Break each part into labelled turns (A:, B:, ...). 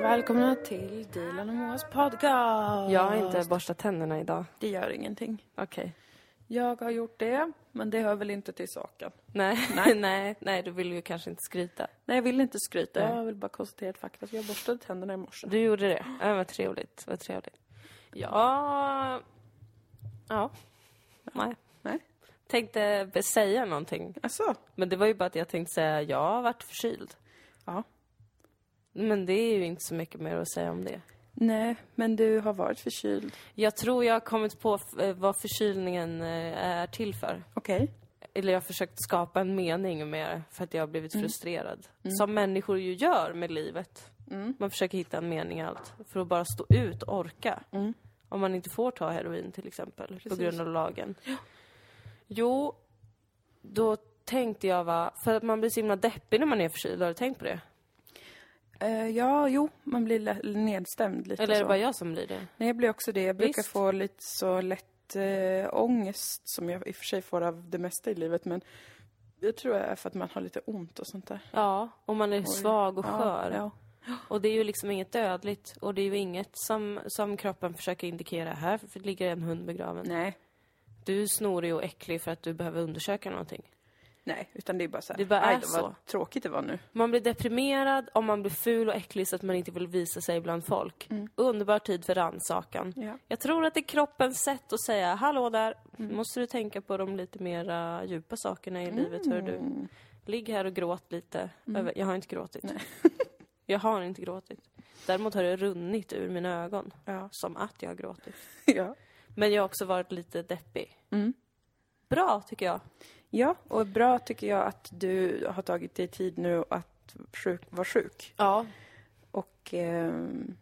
A: Välkomna till Dilan och Moas podcast.
B: Jag har inte borstat tänderna idag.
A: Det gör ingenting.
B: Okej.
A: Jag har gjort det, men det hör väl inte till saken.
B: Nej. Nej. nej, nej, du vill ju kanske inte skryta.
A: Nej, jag vill inte skryta.
B: Nej.
A: Jag vill bara konstatera ett faktum. Jag borstade tänderna i morse.
B: Du gjorde det. Ja, vad trevligt. Vad trevligt. Ja... Ja. Nej.
A: Nej.
B: Tänkte be- säga någonting.
A: Alltså,
B: Men det var ju bara att jag tänkte säga jag har varit förkyld.
A: Ja.
B: Men det är ju inte så mycket mer att säga om det.
A: Nej, men du har varit förkyld.
B: Jag tror jag har kommit på f- eh, vad förkylningen eh, är till för.
A: Okej.
B: Eller jag har försökt skapa en mening med det för att jag har blivit
A: Mm.
B: frustrerad. Som människor ju gör med livet.
A: Mm.
B: Man försöker hitta en mening i allt. För att bara stå ut, orka. Om man inte får ta heroin till exempel, på
A: Mm. Precis.
B: grund av lagen. Jo, då tänkte jag va, för att man blir så himla deppig när man är förkyld, har du tänkt på det?
A: Eh, ja, jo, man blir lä- nedstämd lite
B: Eller är
A: så.
B: det bara jag som blir det?
A: Nej, jag blir också det. Jag brukar
B: Visst.
A: få lite så lätt eh, ångest, som jag i och för sig får av det mesta i livet, men jag tror det är för att man har lite ont och sånt där.
B: Ja, och man är svag och skör.
A: Ja, ja.
B: Och det är ju liksom inget dödligt och det är ju inget som, som kroppen försöker indikera. Här ligger en hund begraven.
A: Nej,
B: Du är snorig och äcklig för att du behöver undersöka någonting.
A: nej, utan det är bara så här,
B: Det bara
A: "Aj
B: är
A: då,
B: så."
A: vad tråkigt det var nu.
B: Man blir deprimerad om man blir ful och äcklig så att man inte vill visa sig bland folk. Underbar tid för rannsakan.
A: Ja.
B: Jag tror att det är kroppens sätt att säga hallå där, Mm. måste du tänka på de lite mera djupa sakerna i livet hör du.
A: Mm.
B: Ligg här och gråt lite. Över- Jag har inte gråtit. Jag har inte gråtit. Däremot har det runnit ur mina ögon.
A: Ja.
B: Som att jag har gråtit.
A: ja. Mm.
B: Men jag har också varit lite deppig. Bra, tycker jag.
A: Ja, och bra tycker jag att du har tagit dig tid nu att sjuk, vara sjuk.
B: Ja,
A: Och, ehm,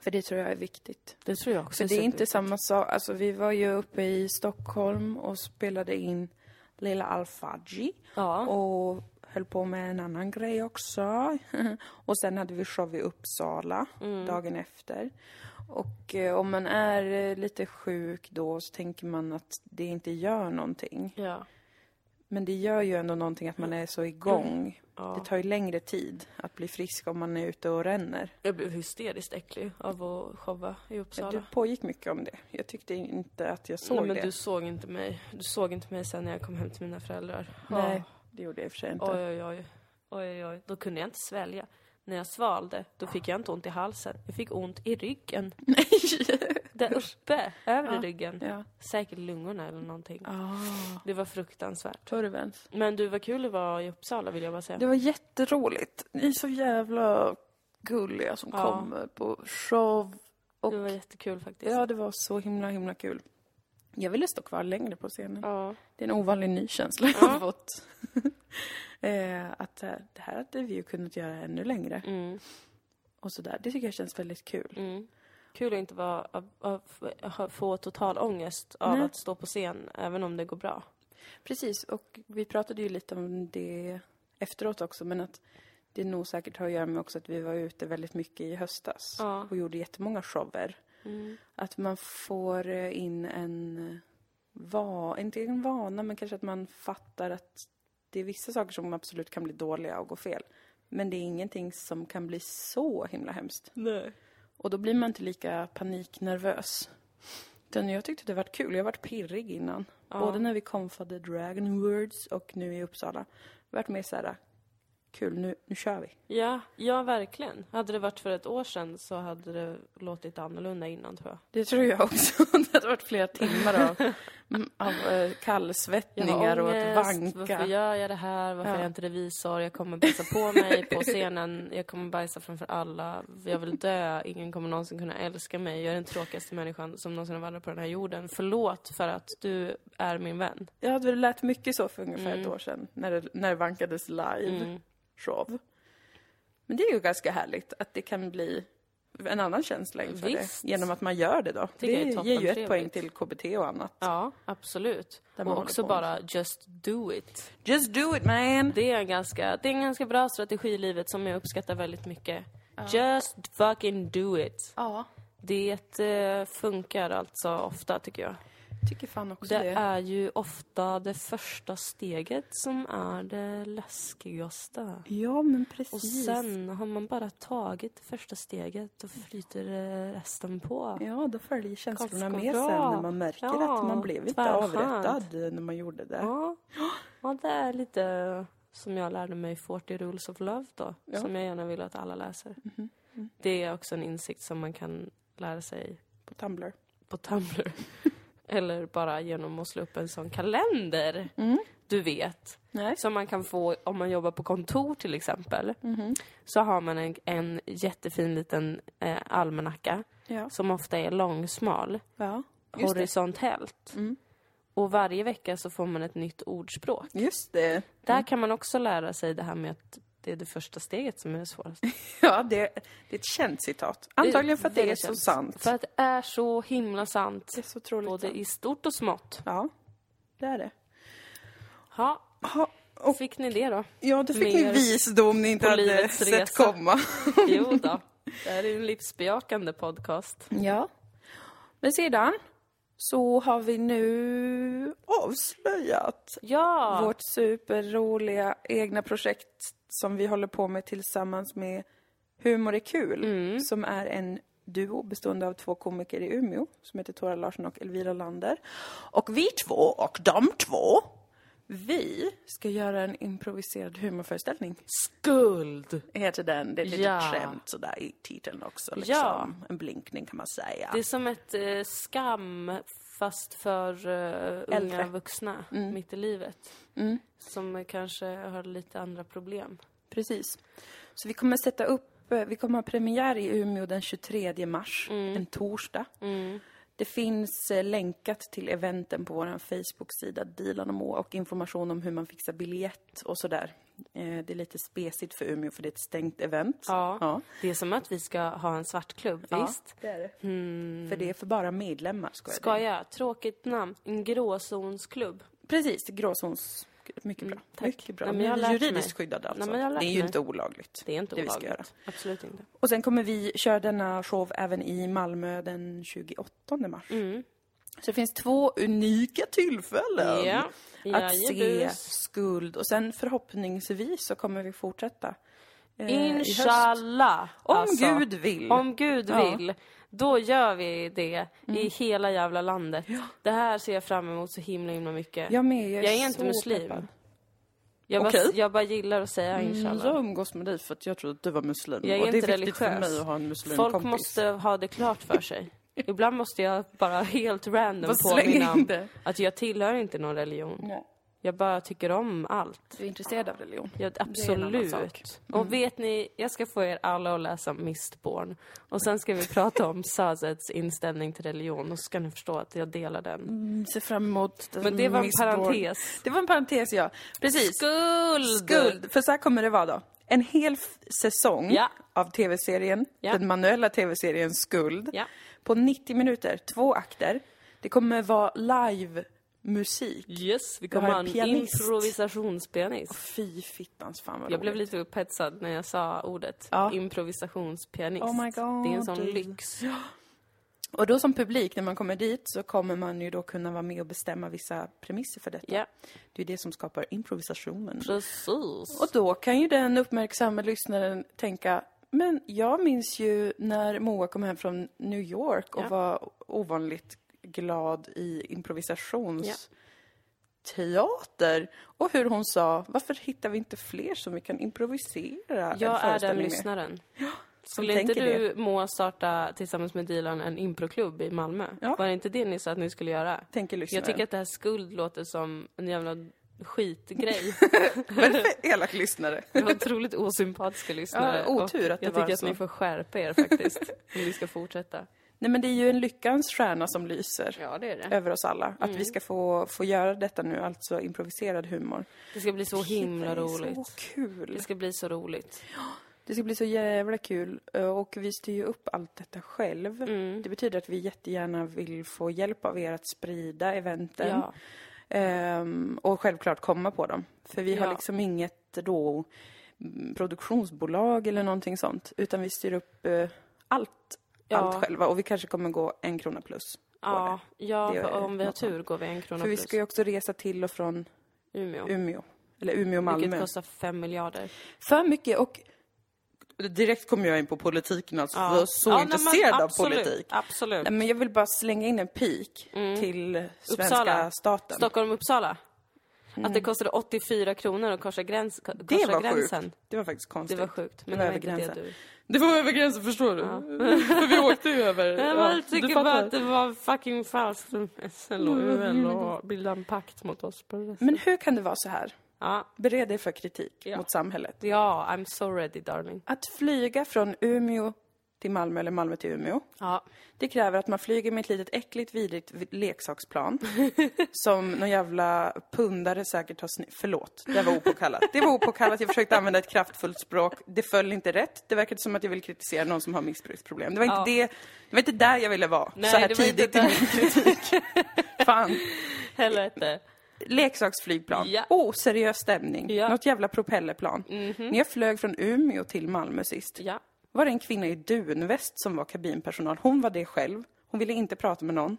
A: för det tror jag är viktigt.
B: det tror jag också.
A: För det är inte samma sak, alltså vi var ju uppe i Stockholm och spelade in Lilla Alfaji
B: Ja.
A: och höll på med en annan grej också. och sen hade vi show i Uppsala
B: Mm.
A: dagen efter. Och eh, om man är eh, lite sjuk då så tänker man att det inte gör någonting.
B: Ja.
A: Men det gör ju ändå någonting att man är så igång.
B: Mm. Ja.
A: Det tar ju längre tid att bli frisk om man är ute och ränner.
B: Jag blev hysteriskt äcklig av att showa i Uppsala.
A: Du pågick mycket om det. Jag tyckte inte att jag såg
B: Nej, men
A: det.
B: du såg inte mig. Du såg inte mig sen när jag kom hem till mina föräldrar.
A: Nej, det gjorde jag i och för sig inte.
B: Oj, oj, oj. Oj, oj, oj. Då kunde jag inte svälja. När jag svalde, då fick jag inte ont i halsen. Jag fick ont i ryggen. Där uppe, över ryggen.
A: Ja.
B: Säkert lungorna eller någonting.
A: Ah,
B: Det var fruktansvärt.
A: Turvens.
B: Men du, vad kul det var i Uppsala vill jag bara säga.
A: Det var jätteroligt. Ni är så jävla gulliga som
B: Ja.
A: kommer på show. Och
B: Det var jättekul faktiskt.
A: ja, det var så himla, himla kul. Jag ville stå kvar längre på scenen.
B: Ja.
A: Det är en ovanlig ny känsla jag har fått. eh, att eh, det här hade vi ju kunnat göra ännu längre.
B: Mm.
A: Och sådär. Det tycker jag känns väldigt kul.
B: Mm. Kul att inte vara, av- av- ha- få total ångest av
A: Nej.
B: att stå på scen, även om det går bra.
A: Precis, och vi pratade ju lite om det efteråt också, men att det nog säkert har att göra med också att vi var ute väldigt mycket i höstas
B: Ja.
A: och gjorde jättemånga shower. Att man får eh, in en, va, inte en vana, men kanske att man fattar att det är vissa saker som absolut kan bli dåliga och gå fel. Men det är ingenting som kan bli så himla hemskt.
B: Nej.
A: Och då blir man inte lika paniknervös. Utan jag tyckte det var kul. Jag har varit pirrig innan. Både när vi konfade Dragon Words och nu i Uppsala. Jag har varit mer såhär, kul nu, nu kör vi.
B: Ja, ja, verkligen. Hade det varit för ett år sedan så hade det låtit annorlunda innan, tror jag.
A: Det tror jag också. det hade varit flera timmar av, mm, av eh, kallsvettningar och att
B: varför
A: vanka.
B: gör jag det här? Varför är jag inte revisor? Jag kommer bajsa på mig på scenen. Jag kommer bajsa framför alla. Jag vill dö. Ingen kommer någonsin kunna älska mig. Jag är den tråkigaste människan som någonsin har varit på den här jorden. Förlåt för att du är min vän.
A: Ja, det lät mycket så för ungefär
B: Mm.
A: ett år sedan. När det, när det vankades live show. Men det är ju ganska härligt att det kan bli en annan känsla inför
B: Visst.
A: det. Genom att man gör det då.
B: Tycker jag är
A: det ger ju
B: toppentrevligt.
A: ett poäng till KBT och annat.
B: Ja, absolut.
A: Där man
B: Och
A: håller
B: också
A: på.
B: bara just do it.
A: Just do it man!
B: Det är, en ganska, det är en ganska bra strategi i livet som jag uppskattar väldigt mycket. Just fucking do it.
A: Ja.
B: Det eh, funkar alltså ofta tycker jag.
A: Tycker fan också
B: Det
A: det.
B: är ju ofta det första steget som är det läskigaste.
A: Ja, men precis.
B: Och sen har man bara tagit det första steget, då flyter eh, resten på.
A: Ja, då följer känslorna
B: Ganska
A: med
B: bra.
A: sen när man märker
B: Ja,
A: att man blev inte
B: tvärskönt.
A: avrättad när man gjorde det.
B: Ja. ja, det är lite som jag lärde mig 40 Rules of Love då,
A: Ja.
B: som jag gärna vill att alla läser.
A: Mhm, mm.
B: Det är också en insikt som man kan lära sig
A: På Tumblr.
B: på Tumblr. Eller bara genom att slå upp en sån kalender,
A: Mm.
B: du vet.
A: Nej.
B: Som man kan få om man jobbar på kontor till exempel.
A: Mhm.
B: Så har man en, en jättefin liten eh, almanacka
A: Ja.
B: som ofta är långsmal,
A: ja. Just det.
B: horisontellt.
A: Mm.
B: Och varje vecka så får man ett nytt ordspråk.
A: Just det.
B: Där kan man också lära sig det här med att det är det första steget som är det svåraste.
A: Ja, det, det är ett känt citat. Antagligen för att det är
B: väldigt
A: så
B: känt.
A: sant.
B: För att det är så himla sant.
A: Det är så otroligt
B: Både
A: sant.
B: i stort och smått.
A: Ja, det är det.
B: Ja,
A: Ha, och,
B: fick ni det då?
A: ja, då fick ni
B: Mer
A: visdom ni inte
B: på
A: hade
B: livets
A: sett
B: resa.
A: komma.
B: Jo då. Det här är ju en livsbejakande podcast.
A: Ja. Men sedan så har vi nu avslöjat
B: Ja!
A: vårt superroliga egna projekt som vi håller på med tillsammans med Humor är kul,
B: Mm.
A: som är en duo bestående av två komiker i Umeå som heter Tora Larsson och Elvira Lander. Och vi två och de två, vi ska göra en improviserad humorföreställning.
B: skuld!
A: Heter den. Det är ett litet
B: Ja.
A: skämt sådär i titeln också. Liksom.
B: Ja.
A: En blinkning kan man säga.
B: Det är som ett eh, skam fast för eh, unga
A: Äldre. Mm.
B: vuxna mitt i livet. Som eh, kanske har lite andra problem.
A: Precis. Så vi kommer sätta upp, eh, vi kommer ha premiär i Umeå den 23 mars,
B: Mm.
A: en torsdag. Det finns eh, länkat till eventen på vår Facebook-sida Dilan och Moa och information om hur man fixar biljett och sådär. Eh, Det är lite spesigt för Umeå för det är ett stängt event.
B: Ja.
A: Ja.
B: Det är som att vi ska ha en svartklubb,
A: Ja,
B: visst?
A: det är det. För det är för bara medlemmar, ska jag
B: Mm. Ska jag? Tråkigt namn. En gråzonsklubb.
A: Precis, gråzons... Mycket bra.
B: Mm, tack.
A: Mycket bra.
B: Nej, men
A: Ni
B: jag har
A: är
B: lärt
A: juridiskt
B: mig.
A: skyddade alltså.
B: men jag har lärt
A: det är ju
B: mig.
A: inte olagligt.
B: Det är inte
A: det vi ska göra.
B: olagligt. Absolut inte.
A: Och sen kommer vi köra denna show även i Malmö den 28 mars.
B: Mm.
A: Så det finns två unika tillfällen
B: Ja.
A: att se
B: Jajebus.
A: skuld. Och sen förhoppningsvis så kommer vi fortsätta. eh, i höst.
B: Inshallah!
A: Om
B: alltså.
A: Gud vill.
B: Om Gud
A: Ja. Mm.
B: vill. Då gör vi det i hela jävla landet. Det här ser jag fram emot så himla himla mycket.
A: Jag med, jag är,
B: Jag är inte
A: så
B: muslim.
A: peppad.
B: jag,
A: okej. Mm,
B: bara, jag bara gillar att säga inshallah.
A: Jag umgås med dig för att jag trodde att du var muslim.
B: Jag är
A: och det är
B: inte
A: viktigt för
B: religiös.
A: mig att ha en muslimkompis.
B: Folk måste ha det klart för sig. Ibland måste jag bara helt random
A: Vad
B: påminna
A: slänger in
B: om
A: det.
B: att jag tillhör inte någon religion.
A: Nej.
B: Jag bara tycker om allt.
A: Du är intresserad av religion?
B: Ja,
A: en annan
B: absolut.
A: sak.
B: Och vet ni, jag ska få er alla att läsa Mistborn. Och sen ska vi prata om Sazets inställning till religion och så ska ni förstå att jag delar den.
A: Mm, Ser fram emot...
B: Men det var en
A: Miss Born.
B: parentes.
A: Det var en parentes, ja. Precis.
B: Skuld!
A: Skuld! För så här kommer det vara då. En hel f- säsong
B: Ja.
A: av tv-serien,
B: Ja.
A: den manuella tv-serien Skuld,
B: Ja.
A: på 90 minuter, två akter. Det kommer vara live-musik.
B: Yes, vi
A: Jag
B: kommer
A: har
B: ha
A: en
B: en
A: pianist.
B: improvisationspianist.
A: Fy fittans fan vad
B: Jag blev
A: roligt.
B: lite upphetsad när jag sa ordet
A: Ja.
B: improvisationspianist.
A: Oh my God.
B: Det är en sån lyx.
A: Och då som publik, när man kommer dit, så kommer man ju då kunna vara med och bestämma vissa premisser för detta.
B: Ja,
A: Det är det som skapar improvisationen.
B: precis.
A: Och då kan ju den uppmärksamma lyssnaren tänka, men jag minns ju när Moa kom hem från New York och
B: Ja.
A: var ovanligt glad i improvisationsteater. Och hur hon sa, varför hittar vi inte fler som vi kan improvisera en
B: jag är den
A: föreställning med?
B: lyssnaren. Skulle inte
A: tänker
B: du må starta tillsammans med Dilan en improklubb i Malmö?
A: Ja.
B: Var det inte det ni sa att ni skulle göra?
A: Tänker lyssnaren.
B: Jag tycker att det här skuld låter som en jävla skitgrej.
A: Väldigt elak lyssnare.
B: Det var otroligt osympatiska lyssnare.
A: Ja, otur
B: och
A: att det
B: jag
A: var
B: tycker att
A: så.
B: ni får skärpa er faktiskt. om ni ska fortsätta.
A: Nej men det är ju en lyckans stjärna som lyser.
B: Ja, Mm. det är det.
A: Över oss alla. Att vi ska få, få göra detta nu, alltså improviserad humor.
B: Det ska bli så himla
A: Det är
B: roligt.
A: Så kul!
B: Det ska bli så roligt.
A: Det ska bli så jävla kul eh, och vi styr ju upp allt detta själv.
B: Mm.
A: Det betyder att vi jättegärna vill få hjälp av er att sprida eventen
B: Ja.
A: Ehm, och självklart komma på dem. För vi har
B: Ja.
A: liksom inget då mm, produktionsbolag eller någonting sånt utan vi styr upp eh, allt,
B: Ja.
A: allt själva och vi kanske kommer gå en krona plus.
B: Ja, ja
A: Det
B: för
A: är
B: om vi har
A: något
B: tur går vi en krona
A: För vi
B: plus.
A: ska ju också resa till och från
B: Umeå.
A: Umeå. Eller Umeå och
B: Vilket
A: Malmö.
B: kostar fem miljarder.
A: För mycket och direkt kommer jag in på politiken alltså, för jag är så
B: nej, men
A: intresserad av
B: absolut,
A: politik.
B: Absolut.
A: Nej, men jag vill bara slänga in en pik till svenska
B: Mm. Uppsala.
A: staten.
B: Stockholm-Uppsala. Att det kostade 84 kronor att korsa, gräns, korsa
A: Mm. det var
B: gränsen.
A: sjukt. Det var faktiskt
B: Det
A: konstigt.
B: var sjukt. Men
A: det
B: det
A: var
B: var
A: över
B: inte det
A: gränsen.
B: du...
A: Det var över gränsen förstår du. För vi åkte ju över.
B: Jag
A: Ja,
B: bara
A: du
B: tycker
A: fattar. Mm.
B: bara att det var fucking falskt. Mm, SLU och bilda en pakt mot oss på det resten.
A: Men hur kan det vara så här?
B: Ja,
A: Bered er för kritik
B: Ja.
A: mot samhället.
B: ja, I'm so ready darling.
A: Att flyga från Umeå till Malmö eller Malmö till Umeå.
B: Ja.
A: Det kräver att man flyger med ett litet äckligt vidrigt v- leksaksplan. som någon jävla pundare säkert har sny- Förlåt, det var opåkallat. Det var opåkallat, jag försökte använda ett kraftfullt språk. Det föll inte rätt. Det verkade som att jag ville kritisera någon som har missbruksproblem. Det var inte, det,
B: Ja.
A: det var inte där jag ville vara.
B: Nej,
A: så här
B: det var inte
A: tidigt i min kritik. Fan.
B: Helvete.
A: Leksaksflygplan.
B: Ja.
A: Oseriös stämning.
B: Ja. Mhm.
A: Något jävla propellerplan. När jag flög från Umeå till Malmö sist
B: Ja.
A: var det en kvinna i dunväst som var kabinpersonal. Hon var det själv. Hon ville inte prata med någon.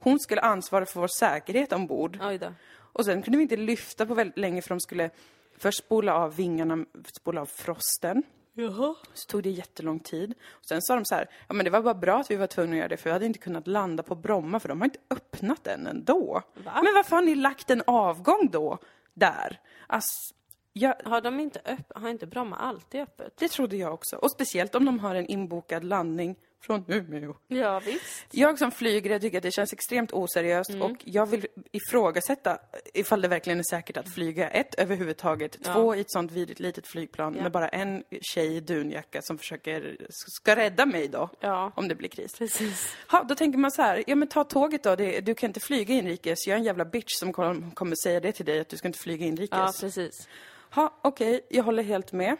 A: Hon skulle ansvara för vår säkerhet ombord.
B: Oj då.
A: Och sen kunde vi inte lyfta på väldigt länge för de skulle först spola av vingarna, spola av frosten.
B: Jaha.
A: Så tog det jättelång tid. Och sen sa de så här, ja men det var bara bra att vi var tvungna att göra det för vi hade inte kunnat landa på Bromma för de har inte öppnat den ändå.
B: Va?
A: Men varför har ni lagt en avgång då, där? Alltså, jag,
B: Har de inte öppet? Har inte Bromma alltid öppet?
A: det trodde jag också. Och speciellt om de har en inbokad landning från Umeå.
B: Ja, visst.
A: Jag som flygrädd tycker att det känns extremt oseriöst
B: Mm.
A: och jag vill ifrågasätta ifall det verkligen är säkert att flyga. Ett, överhuvudtaget. Två, i ett sånt vidrigt litet flygplan med bara en tjej i dunjacka som försöker, ska rädda mig då.
B: Ja.
A: Om det blir kris.
B: Precis.
A: Ha, då tänker man så här, ja men ta tåget då, det, du kan inte flyga inrikes. Jag är en jävla bitch som kom, kommer säga det till dig, att du ska inte flyga
B: Ja,
A: inrikes.
B: precis.
A: ha, okej, jag håller helt med.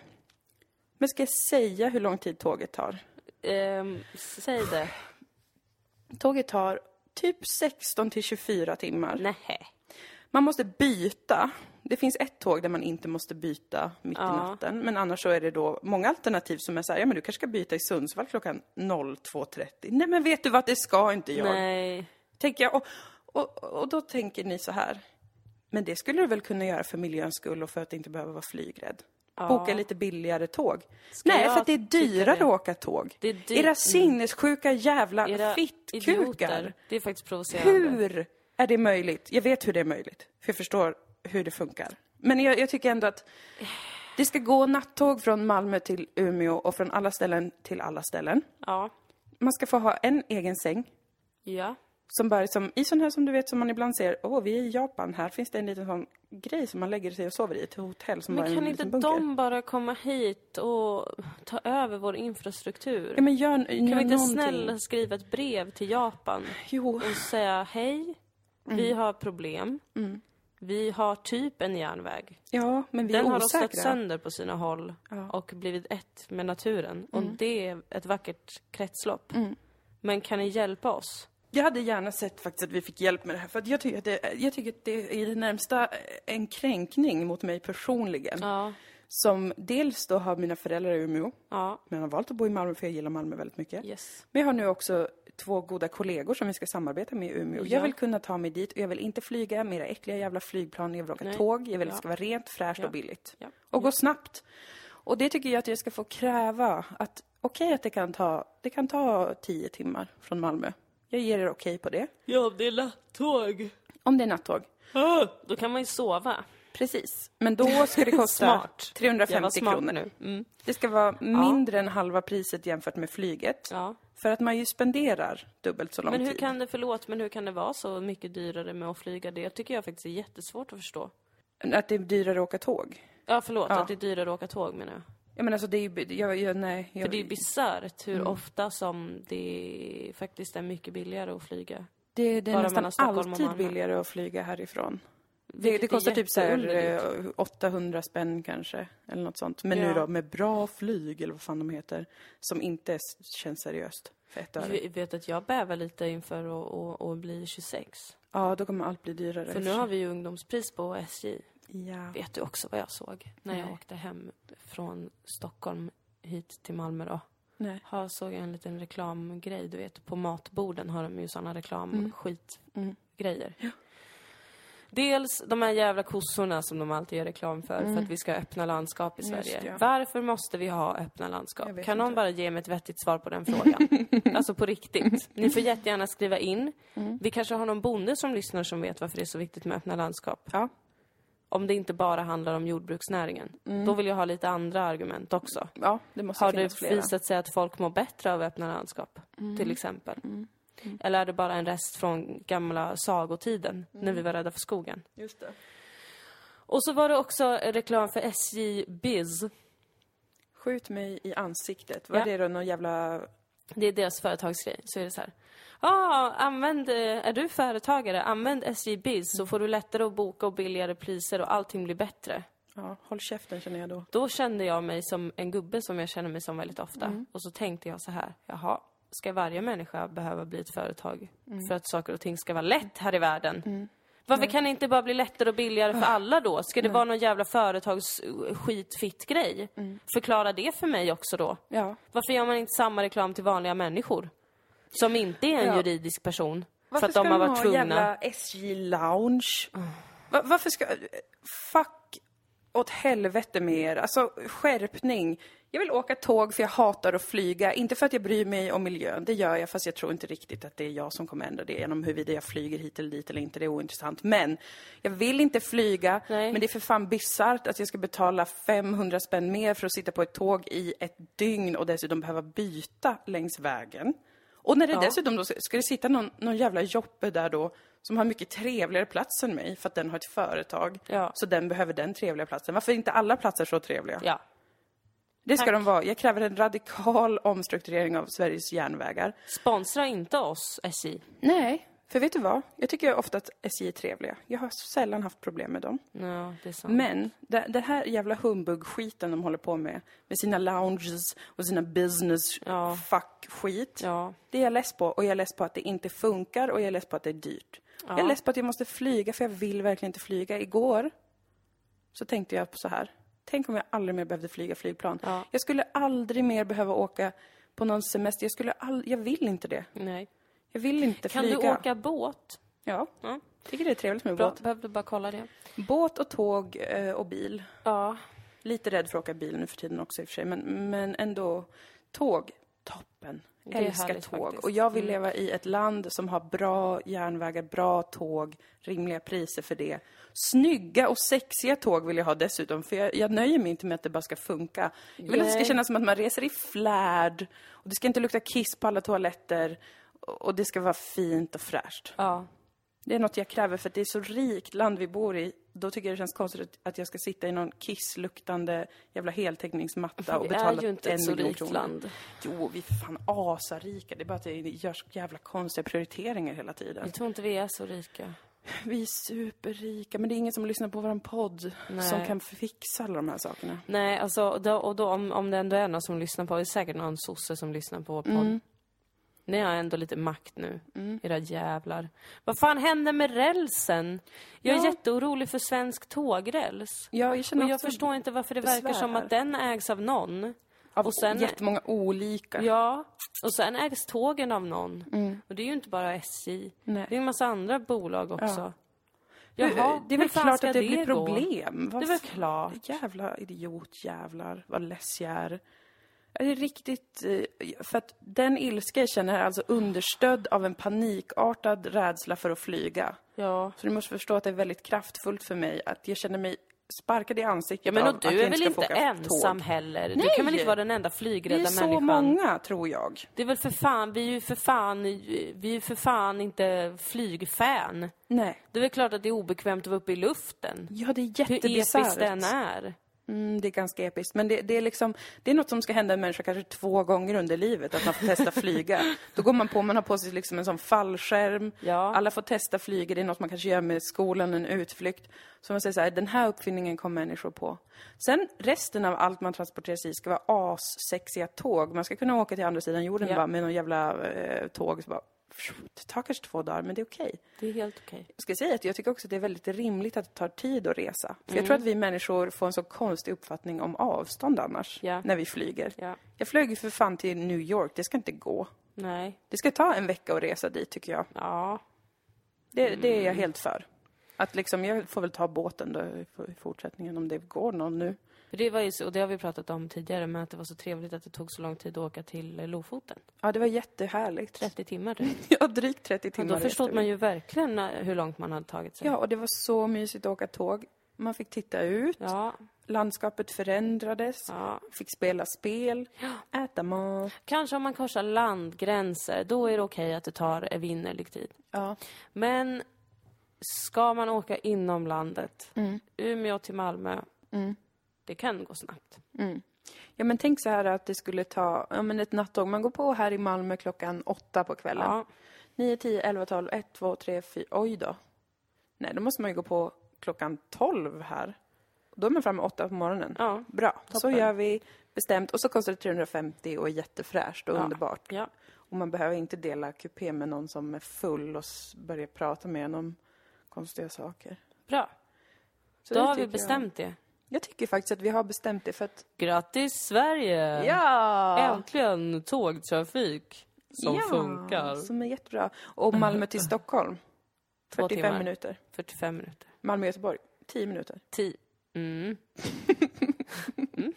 A: Men ska jag säga hur lång tid tåget tar?
B: Ehm, säg det.
A: Tåget tar typ 16 till 24 timmar.
B: Nej.
A: Man måste byta. Det finns ett tåg där man inte måste byta mitt
B: Ja.
A: i natten. Men annars så är det då många alternativ som är så här, ja men du kanske ska byta i Sundsvall klockan 02.30. Nej men vet du vad, det ska inte jag.
B: Nej.
A: Tänker jag. Och, och, och då tänker ni så här, men det skulle du väl kunna göra för miljöns skull och för att inte behöva vara flygrädd? Boka lite billigare tåg. Nej,
B: jag
A: för att det är
B: tycka
A: dyrare
B: det?
A: att åka tåg.
B: Det är dy-
A: Era sinnessjuka jävla
B: Era
A: fittkukar.
B: idioter. Det är faktiskt provocerande.
A: Hur är det möjligt? Jag vet hur det är möjligt, för jag förstår hur det funkar. Men jag, jag tycker ändå att det ska gå nattåg från Malmö till Umeå och från alla ställen till alla ställen.
B: Ja.
A: Man ska få ha en egen säng.
B: Ja.
A: Som bara är som, I sån här som du vet som man ibland ser, åh vi är i Japan, här finns det en liten sån grej som man lägger sig och sover i, ett hotell som bara
B: Men
A: är en
B: kan inte
A: liten bunker.
B: de bara komma hit och ta över vår infrastruktur?
A: Ja, men gör, gör
B: kan vi inte
A: någonting.
B: snälla skriva ett brev till Japan
A: Jo.
B: och säga hej,
A: Mm.
B: vi har problem, vi har typ en järnväg.
A: Ja, men vi
B: Den
A: är
B: har rostat
A: osäkra.
B: sönder på sina håll och blivit ett med naturen.
A: Mm.
B: Och det är ett vackert kretslopp. Men kan ni hjälpa oss?
A: Jag hade gärna sett faktiskt att vi fick hjälp med det här, för att jag, tycker att det, jag tycker att det är i det närmsta eh, en kränkning mot mig personligen.
B: Ja.
A: Som dels då har mina föräldrar i Umeå,
B: Ja.
A: men har valt att bo i Malmö för jag gillar Malmö väldigt mycket.
B: Yes.
A: Men jag har nu också två goda kollegor som vi ska samarbeta med i Umeå.
B: Ja.
A: Jag vill kunna ta mig dit och jag vill inte flyga med era äckliga jävla flygplan, jag vill åka
B: Nej.
A: tåg, jag vill att
B: Ja.
A: det ska vara rent, fräscht
B: Ja.
A: och billigt.
B: Ja.
A: Och gå snabbt. Och det tycker jag att jag ska få kräva att, okej att det kan ta, det kan ta tio timmar från Malmö. Jag ger er okej på det.
B: Ja, det är nattåg. Ah!
A: Om det är nattåg.
B: Då kan man ju sova.
A: Precis. Men då ska det kosta
B: Smart. Jag var
A: 350
B: smart
A: kronor.
B: nu. Mm.
A: Det ska vara mindre än halva priset jämfört med flyget.
B: Ja.
A: För att man ju spenderar dubbelt så lång
B: Men hur
A: tid.
B: kan det, förlåt, men hur kan det vara så mycket dyrare med att flyga? Det tycker jag faktiskt är jättesvårt att förstå.
A: Att det är dyrare att åka tåg.
B: Ja, förlåt,
A: Ja.
B: att det är dyrare att åka tåg menar jag.
A: Jag menar alltså det är ju, jag, jag, nej. Jag,
B: För det är bisarrt
A: Mm.
B: hur ofta som det faktiskt är mycket billigare att flyga.
A: det, det är
B: bara
A: nästan
B: mellan Stockholm och
A: alltid
B: Malmö.
A: billigare att flyga härifrån. Det,
B: Vilket
A: det
B: är
A: kostar typ så här,
B: jätteunderligt.
A: eh, 800 spänn kanske, eller något sånt. Men
B: Ja.
A: nu då, med bra flyg, eller vad fan de heter, som inte s- känns seriöst för ett öre.
B: Jag vet att jag bävar lite inför att och, och bli 26.
A: Ja, då kommer allt bli dyrare.
B: För nu har vi ju ungdomspris på SJ.
A: Ja.
B: Vet du också vad jag såg när jag åkte hem från Stockholm hit till Malmö då?
A: Nej.
B: Har, såg jag en liten reklamgrej, du vet på matborden har de ju sådana
A: Mm.
B: reklamskitgrejer. Dels de här jävla kossorna som de alltid gör reklam för, för att vi ska ha öppna landskap i
A: Mm. Just
B: Sverige.
A: det, ja.
B: Varför måste vi ha öppna
A: Jag
B: landskap?
A: vet
B: Kan någon
A: inte.
B: bara ge mig ett vettigt svar på den frågan? alltså på riktigt. Ni får jättegärna skriva in.
A: Mm.
B: Vi kanske har någon bonde som lyssnar som vet varför det är så viktigt med öppna landskap.
A: Ja.
B: Om det inte bara handlar om jordbruksnäringen.
A: Mm.
B: Då vill jag ha lite andra argument också.
A: Ja, det måste
B: Har
A: finnas
B: det
A: flera.
B: visat sig att folk mår bättre av öppna landskap? Till exempel. Eller är det bara en rest från gamla sagotiden, när vi var rädda för skogen?
A: Just det.
B: Och så var det också reklam för SJ Biz.
A: Skjut mig i ansiktet. Vad
B: Ja.
A: är det då? Någon jävla...
B: Det är deras företagsgrej. Så är det så här. Ah, använd, eh, är du företagare, använd SJ Biz så får du lättare att boka och billigare priser och allting blir bättre.
A: Ja, håll käften känner jag då.
B: Då kände jag mig som en gubbe som jag känner mig som väldigt ofta.
A: Mm.
B: Och så tänkte jag så här, jaha, ska varje människa behöva bli ett företag
A: Mm.
B: för att saker och ting ska vara lätt här i världen? Varför kan det inte bara bli lättare och billigare
A: Ah.
B: för alla då? Ska det vara någon jävla företagsskitfitt grej?
A: Mm.
B: Förklara det för mig också då.
A: Ja.
B: Varför gör man inte samma reklam till vanliga människor? Som inte är en
A: Ja.
B: juridisk person.
A: Varför
B: för att de
A: ska
B: har varit
A: ha
B: tvungna. Mm.
A: jävla SJ-lounge? Va- varför ska... Fuck åt helvete med er. Alltså, skärpning. Jag vill åka tåg för jag hatar att flyga. Inte för att jag bryr mig om miljön, det gör jag, fast jag tror inte riktigt att det är jag som kommer ändra det genom huruvida jag flyger hit eller dit eller inte, det är ointressant. Men, jag vill inte flyga,
B: Nej.
A: men det är för fan bisarrt att jag ska betala 500 spänn mer för att sitta på ett tåg i ett dygn och dessutom behöva byta längs vägen. Och när det dessutom då, ska det sitta någon, någon jävla joppe där då som har mycket trevligare plats än mig för att den har ett företag.
B: Ja.
A: Så den behöver den trevliga platsen. Varför är inte alla platser så trevliga?
B: Ja.
A: det ska
B: tack.
A: de vara. Jag kräver en radikal omstrukturering av Sveriges järnvägar.
B: Sponsra inte oss, SJ.
A: Nej. För vet du vad? Jag tycker ofta att SJ är trevliga. Jag har sällan haft problem med dem.
B: Ja, det är sant.
A: Men det, det här jävla humbug-skiten de håller på med, med sina lounges och sina business
B: Ja.
A: fuck-skit.
B: Ja.
A: Det är jag less på och jag är less på att det inte funkar och jag är less på att det är dyrt. Jag är less på att jag måste flyga för jag vill verkligen inte flyga. Igår så tänkte jag på så här. Tänk om jag aldrig mer behövde flyga flygplan.
B: Ja.
A: Jag skulle aldrig mer behöva åka på någon semester. Jag, skulle all... jag vill inte det.
B: Nej.
A: Jag vill inte
B: Kan
A: flyga.
B: du åka båt?
A: Ja.
B: Ja.
A: Tycker det är trevligt med
B: Bra,
A: båt.
B: behövde bara kolla det.
A: Båt och tåg eh, och bil.
B: Ja.
A: Lite rädd för att åka bil nu för tiden också i och för sig, men, men ändå. Tåg, toppen.
B: är
A: Älskar tåg.
B: härligt faktiskt. Mm.
A: Och jag vill leva i ett land som har bra järnvägar, bra tåg, rimliga priser för det. Snygga och sexiga tåg vill jag ha dessutom, för jag, jag nöjer mig inte med att det bara ska funka. Jag vill att det ska
B: Nej.
A: kännas som att man reser i flärd, och det ska inte lukta kiss på alla toaletter, och och det ska vara fint och fräscht.
B: ja.
A: Det är något jag kräver för att det är så rikt land vi bor i. Då tycker jag det känns konstigt att- att jag ska sitta i någon kissluktande jävla heltäckningsmatta och
B: Det
A: betala
B: är ju inte
A: en
B: ett så
A: miljon
B: rikt
A: kronor.
B: land.
A: Jo, vi är fan asarika. Det är bara att det görs jävla konstiga prioriteringar hela tiden.
B: Jag tror inte vi är så rika.
A: Vi är superrika, men det är ingen som lyssnar på vår podd
B: Nej.
A: som kan fixa alla de här sakerna.
B: Nej, alltså, då, och då, om, om det ändå är någon som lyssnar på, det är säkert någon sosse som lyssnar på vår podd. Ni har ändå lite makt nu, era jävlar. Vad fan händer med rälsen? Jag är
A: Ja.
B: jätteorolig för svensk tågräls.
A: Ja, jag känner
B: Och jag
A: också
B: förstår inte varför det verkar
A: besvär
B: som
A: här.
B: att den ägs av någon.
A: av
B: och sen-
A: jättemånga olika.
B: Ja, och sen ägs tågen av någon. Och det är ju inte bara SJ.
A: Mm. Nej.
B: Det är en massa andra bolag också.
A: Hur- det är väl
B: hur fan
A: klart
B: ska
A: att det, blir
B: gå?
A: problem. Vad
B: Det är väl
A: fan?
B: klart.
A: Jävla idiot, jävlar, vad less jag är. Är det riktigt... eh, För att den ilska jag känner är alltså understödd av en panikartad rädsla för att flyga.
B: Ja.
A: Så du måste förstå att det är väldigt kraftfullt för mig att jag känner mig sparkad i ansiktet
B: Ja men
A: av
B: och
A: att
B: du
A: jag
B: är väl
A: ska få
B: inte
A: åka
B: ensam
A: Tåg.
B: heller? Du
A: Nej!
B: kan väl inte vara den enda
A: Vi är
B: flygrädda
A: så
B: människan?
A: många, tror jag.
B: Det är väl för fan, vi är ju för fan, vi är ju för fan inte flygfan.
A: Nej.
B: Det är väl klart att det är obekvämt att vara uppe i luften.
A: Ja, det är
B: Hur
A: jättebisarrt.
B: episkt den är.
A: Mm, det är ganska episkt. Men det, det, är liksom, det är något som ska hända en människa kanske två gånger under livet, att man får testa flyga. Då går man på, man har på sig liksom en sån fallskärm,
B: Ja.
A: alla får testa flyga, det är något man kanske gör med skolan, en utflykt. Så man säger så här, den här uppfinningen kom människor på. Sen resten av allt man transporteras i ska vara assexiga tåg. Man ska kunna åka till andra sidan jorden
B: Ja.
A: bara med någon jävla eh, tåg. Så bara, det tar kanske två dagar, men det är okej.
B: Det är helt okej.
A: Jag ska säga att jag tycker också att det är väldigt rimligt att det tar tid att resa.
B: Mm.
A: För jag tror att vi människor får en så konstig uppfattning om avstånd annars,
B: Ja.
A: när vi flyger.
B: Ja.
A: Jag flög ju för fan till New York, det ska inte gå.
B: Nej.
A: Det ska ta en vecka att resa dit tycker jag.
B: Ja.
A: Det, det är
B: Mm.
A: jag helt för. Att liksom, jag får väl ta båten då i f- i fortsättningen om det går någon nu.
B: För Det var ju så, och det har vi pratat om tidigare, men att det var så trevligt att det tog så lång tid att åka till eh, Lofoten.
A: Ja, det var jättehärligt.
B: 30 timmar typ.
A: Ja, drygt 30
B: Och
A: timmar.
B: då
A: reste
B: förstod
A: vi.
B: man ju verkligen eh, hur långt man hade tagit sig.
A: Ja, och det var så mysigt att åka tåg. Man fick titta ut,
B: Ja,
A: landskapet förändrades,
B: ja.
A: fick spela spel, äta mat.
B: Kanske om man korsar landgränser, då är det okej att det tar evinnerlig tid.
A: Ja.
B: Men ska man åka inom landet,
A: Mm.
B: Umeå till Malmö, det kan gå snabbt.
A: ja, men tänk så här att det skulle ta, ja men ett nattåg. Man går på här i Malmö klockan åtta på kvällen.
B: Ja.
A: 9, 10, 11, 12, 1, 2, 3, 4, oj då. Nej, då måste man ju gå på klockan 12 här. Då är man framme 8 på morgonen.
B: Ja.
A: Bra, så
B: Toppen.
A: gör vi bestämt. Och så kostar det 350 och är jättefräscht och
B: Ja.
A: underbart.
B: ja.
A: Och man behöver inte dela kupé med någon som är full och s- börjar prata med en om konstiga saker.
B: Bra.
A: Så
B: då
A: det
B: har vi
A: tycker
B: bestämt det.
A: Jag. jag tycker faktiskt att vi har bestämt det för att...
B: Grattis Sverige!
A: Ja!
B: Äntligen tågtrafik som
A: ja,
B: funkar.
A: Som är jättebra. Och Malmö till Stockholm.
B: Två
A: 45
B: timmar.
A: minuter.
B: 45 minuter.
A: Malmö-Göteborg, 10 minuter.
B: 10. Mm. mm.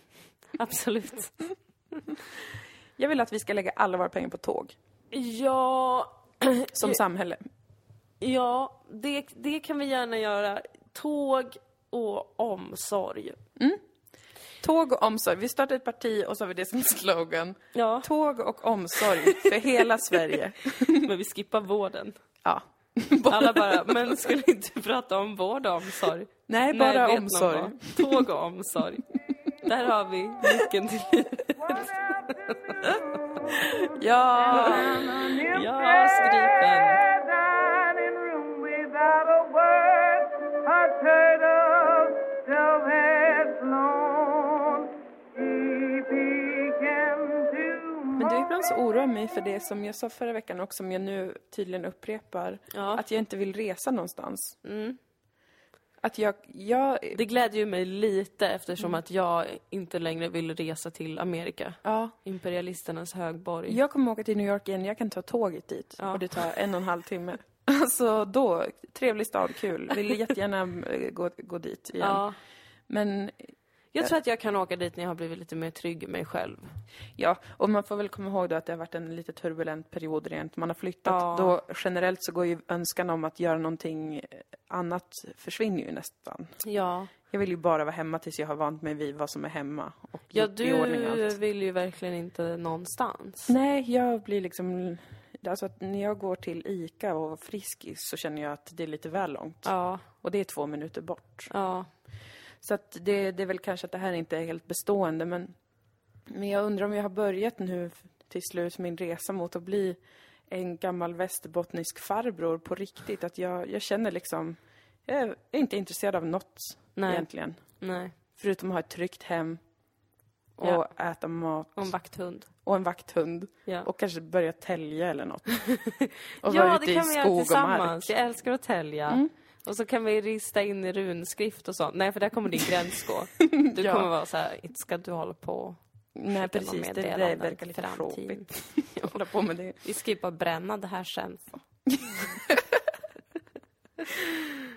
B: Absolut.
A: Jag vill att vi ska lägga alla våra pengar på tåg,
B: Ja,
A: som samhälle.
B: ja det, det kan vi gärna göra. Tåg och omsorg.
A: Tåg och omsorg. Vi startar ett parti och så har vi det som slogan.
B: Ja,
A: Tåg och omsorg för hela Sverige.
B: men vi skippar vården.
A: Ja.
B: Alla bara, men skulle inte prata om vård och omsorg?
A: Nej,
B: Nej,
A: bara
B: vet någon
A: omsorg.
B: vad? Tåg och omsorg. Där har vi nyckeln till livet.
A: Ja!
B: Ja, skripen.
C: dining room without a word. A turtle dove has flown. He began to
A: Men du, ibland så oroar jag mig för det som jag sa förra veckan och som jag nu tydligen upprepar.
B: Ja. Mm.
A: Att jag inte vill resa någonstans. Att jag, jag...
B: Det glädjer ju mig lite eftersom att jag inte längre vill resa till Amerika.
A: Ja.
B: Imperialisternas högborg.
A: Jag kommer åka till New York igen, jag kan ta tåget dit och det tar en och en halv timme. Alltså då, trevlig stad, kul. Vill jättegärna eh, gå, gå dit igen.
B: Ja.
A: Men
B: Jag tror att jag kan åka dit när jag har blivit lite mer trygg i mig själv.
A: ja, och man får väl komma ihåg då att det har varit en lite turbulent period rent. Man har flyttat.
B: Ja.
A: Då generellt så går ju önskan om att göra någonting annat försvinner ju nästan.
B: Ja.
A: Jag vill ju bara vara hemma tills jag har vant mig vid vad som är hemma och
B: Ja,
A: gjort i ordning
B: du
A: allt.
B: vill ju verkligen inte någonstans.
A: Nej, jag blir liksom... Alltså att när jag går till ICA och Friskis så känner jag att det är lite väl långt.
B: Ja,
A: Och det är två minuter bort.
B: ja.
A: Så att det, det är väl kanske att det här inte är helt bestående, men, men jag undrar om jag har börjat nu f- till slut min resa mot att bli en gammal västerbottnisk farbror på riktigt. Att jag, jag känner liksom, jag är inte intresserad av något
B: Nej.
A: egentligen.
B: Nej.
A: Förutom att ha ett tryggt hem och
B: Ja.
A: äta mat
B: Och en vakthund.
A: och en vakthund.
B: Ja.
A: Och kanske börja tälja eller något. Och
B: ja, det kan vi göra tillsammans. Jag älskar att tälja. Och så kan vi rista in i runskrift och sånt. Nej, för där kommer din gräns gå. Du
A: Ja.
B: kommer vara så här, inte ska du hålla på
A: Nej,
B: skicka några
A: precis. Det, det
B: meddelanden
A: verkar lite
B: fram till-
A: tråkigt. Jag håller på med det.
B: Vi skippar bränna det här sen.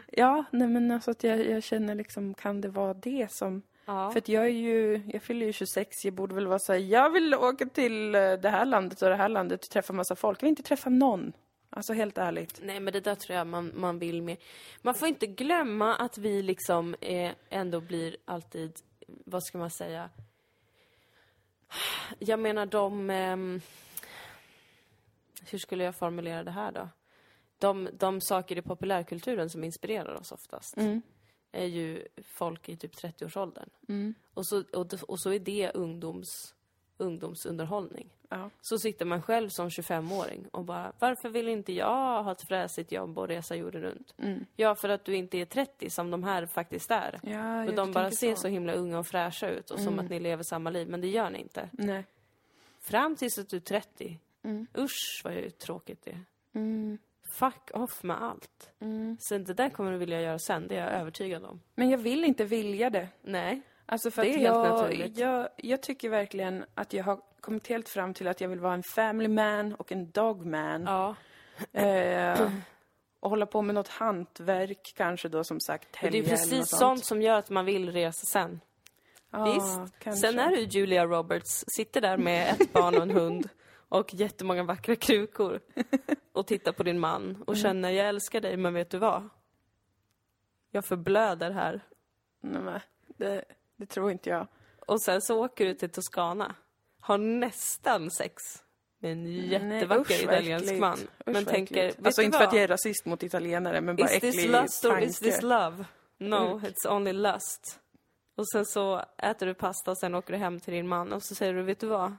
A: Ja, nej men alltså att jag, jag känner liksom, kan det vara det som...
B: Ja.
A: För att jag är ju, jag fyller ju 26, jag borde väl vara såhär, jag vill åka till eh, det här landet och det här landet och träffa massa folk. Jag vill inte träffa någon. Alltså helt ärligt.
B: Nej men det där tror jag man, man vill mer. Man får inte glömma att vi liksom eh, ändå blir alltid, vad ska man säga? Jag menar de, ehm, hur skulle jag formulera det här då? De, de saker i populärkulturen som inspirerar oss oftast
A: Mm.
B: är ju folk i typ 30-årsåldern.
A: Mm.
B: Och, så, och, och så är det ungdoms, ungdomsunderhållning.
A: Ja.
B: Så sitter man själv som 25-åring och bara, varför vill inte jag ha ett fräsigt jobb och resa jorden runt?
A: Mm.
B: Ja, för att du inte är 30 som de här faktiskt är.
A: Ja,
B: och de bara ser så. himla unga och fräscha ut och
A: Mm.
B: som att ni lever samma liv, men det gör ni inte.
A: Nej.
B: Fram tills att du är 30.
A: Mm.
B: Usch vad tråkigt det är. Fuck off med allt.
A: Mm.
B: Sen det där kommer du vilja göra sen, det är jag övertygad om.
A: Men jag vill inte vilja det.
B: Nej.
A: Alltså för
B: Det är
A: att
B: helt
A: jag,
B: naturligt.
A: jag, jag tycker verkligen att jag har kommit helt fram till att jag vill vara en family man och en dog man.
B: Ja.
A: Eh,
B: Mm.
A: och hålla på med något hantverk kanske då som sagt
B: Men det är
A: helger
B: ju
A: eller något
B: precis sånt som gör att man vill resa sen.
A: Ja,
B: Visst.
A: kanske.
B: Sen är det ju Julia Roberts, sitter där med ett barn och en hund och jättemånga vackra krukor och tittar på din man
A: Mm.
B: och känner jag älskar dig men vet du vad? Jag förblöder här.
A: Nej, men det, det tror inte jag.
B: Och sen så åker du till Toscana. Har nästan sex med en jättevacker
A: usch, vad
B: italiensk
A: äckligt.
B: man.
A: Usch,
B: men
A: vad
B: tänker,
A: äckligt.
B: vet
A: Alltså
B: du
A: inte för
B: vad?
A: att jag är rasist mot italienare men bara
B: Is this
A: äcklig
B: lust or
A: tanke. Mm.
B: is this love? No, it's only lust. Och sen så äter du pasta och sen åker du hem till din man och så säger du, vet du vad?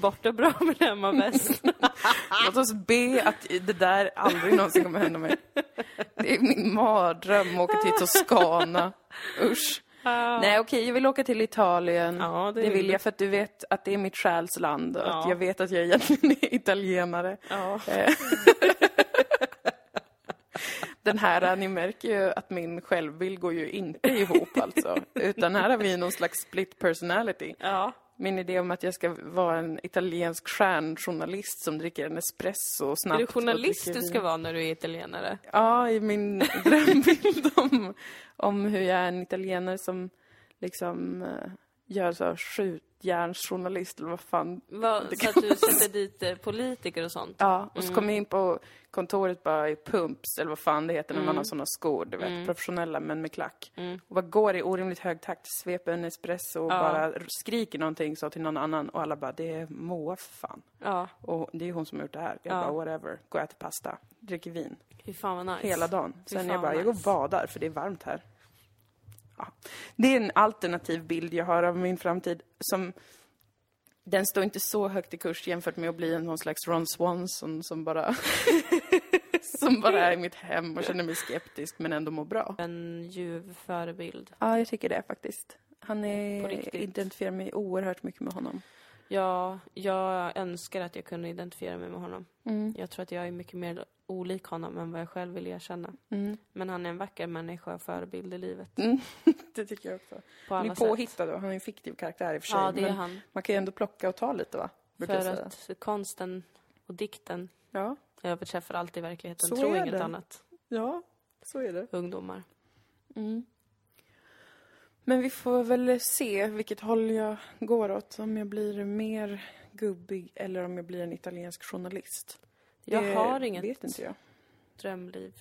B: Borta bra men hemma bäst.
A: Låt oss be att det där aldrig någonsin kommer hända mig. Det är min mardröm att åka till Toscana. Usch. Nej okej, jag vill åka till Italien.
B: Ja, det
A: det
B: vill
A: vill
B: du.
A: jag för att du vet att det är mitt själs land. och Att
B: Ja.
A: jag vet att jag egentligen är italienare. Eh.
B: ja.
A: Den här, ni märker ju att min självbild går ju inte ihop alltså. Utan här har vi någon slags split personality.
B: ja.
A: Min idé om att jag ska vara en italiensk stjärnjournalist som dricker en espresso snabbt.
B: Är det
A: och
B: journalist
A: dricker
B: du
A: vin.
B: ska vara när du är italienare?
A: Ja, i min drömbild om, om hur jag är en italienare som liksom eh, gör så här skjutjärnsjournalist eller vad fan.
B: Vad, så att du sätter dit eh, politiker och sånt?
A: Ja, och så
B: Mm.
A: kom jag in på kontoret bara i pumps eller vad fan det heter när
B: Mm.
A: man har sådana skor, du vet, professionella men med klack. Och bara går i orimligt hög takt, sveper en espresso och bara skriker någonting så till någon annan och alla bara, det är Moa för fan.
B: Ja.
A: Och det är hon som har gjort det här. Jag bara, whatever. Går och äter pasta, dricker vin.
B: Fy fan vad nice.
A: Hela dagen.
B: Fy
A: Sen
B: fan
A: jag bara,
B: vad
A: jag går och
B: nice.
A: badar för det är varmt här. Ja. Det är en alternativ bild jag har av min framtid som den står inte så högt i kurs jämfört med att bli någon slags Ron Swanson som bara, som bara är i mitt hem och känner mig skeptisk men ändå mår bra.
B: En ljuv förebild.
A: Ja, jag tycker det faktiskt. Han
B: På
A: är,
B: riktigt.
A: identifierar mig oerhört mycket med honom.
B: Ja, jag önskar att jag kunde identifiera mig med honom. Jag tror att jag är mycket mer olik honom än vad jag själv vill erkänna.
A: Mm.
B: Men han är en vacker människa och förebild i livet.
A: Det tycker jag också.
B: På
A: Han
B: alla
A: är
B: sätt.
A: påhittad och han är en fiktiv karaktär i och för sig.
B: Ja, det är
A: men
B: han.
A: Man kan ju ändå plocka och ta lite va? Brukar jag
B: För
A: säga.
B: att konsten och dikten
A: Ja,
B: överträffar alltid verkligheten.
A: Så
B: Tro
A: är
B: inget
A: det.
B: annat,
A: ja, så är det.
B: ungdomar. Mm.
A: Men vi får väl se vilket håll jag går åt. Om jag blir mer gubbig eller om jag blir en italiensk journalist.
B: Jag
A: Det
B: har inget
A: vet inte jag.
B: drömliv.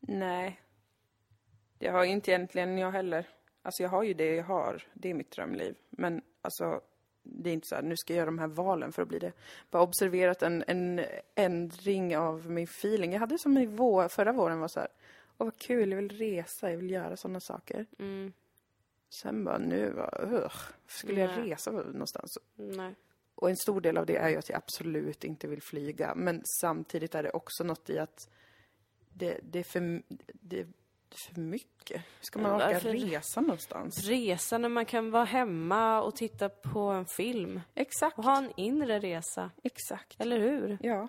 A: Nej. Det har inte egentligen jag heller. Alltså jag har ju det jag har. Det är mitt drömliv. Men alltså, det är inte så här, nu ska jag göra de här valen för att bli det. Bara observerat en, en ändring av min feeling. Jag hade som i vår, förra våren var så här, åh vad kul, jag vill resa, jag vill göra sådana saker.
B: Mm,
A: Sen bara, nu bara, ugh, skulle jag
B: Nej.
A: resa någonstans?
B: nej.
A: Och en stor del av det är ju att jag absolut inte vill flyga. Men samtidigt är det också något i att det, det, är, för, det är för mycket. Hur ska man
B: Men
A: orka
B: varför-
A: resa någonstans?
B: Resa när man kan vara hemma och titta på en film.
A: Exakt.
B: Och ha en inre resa,
A: Exakt.
B: eller hur?
A: Ja.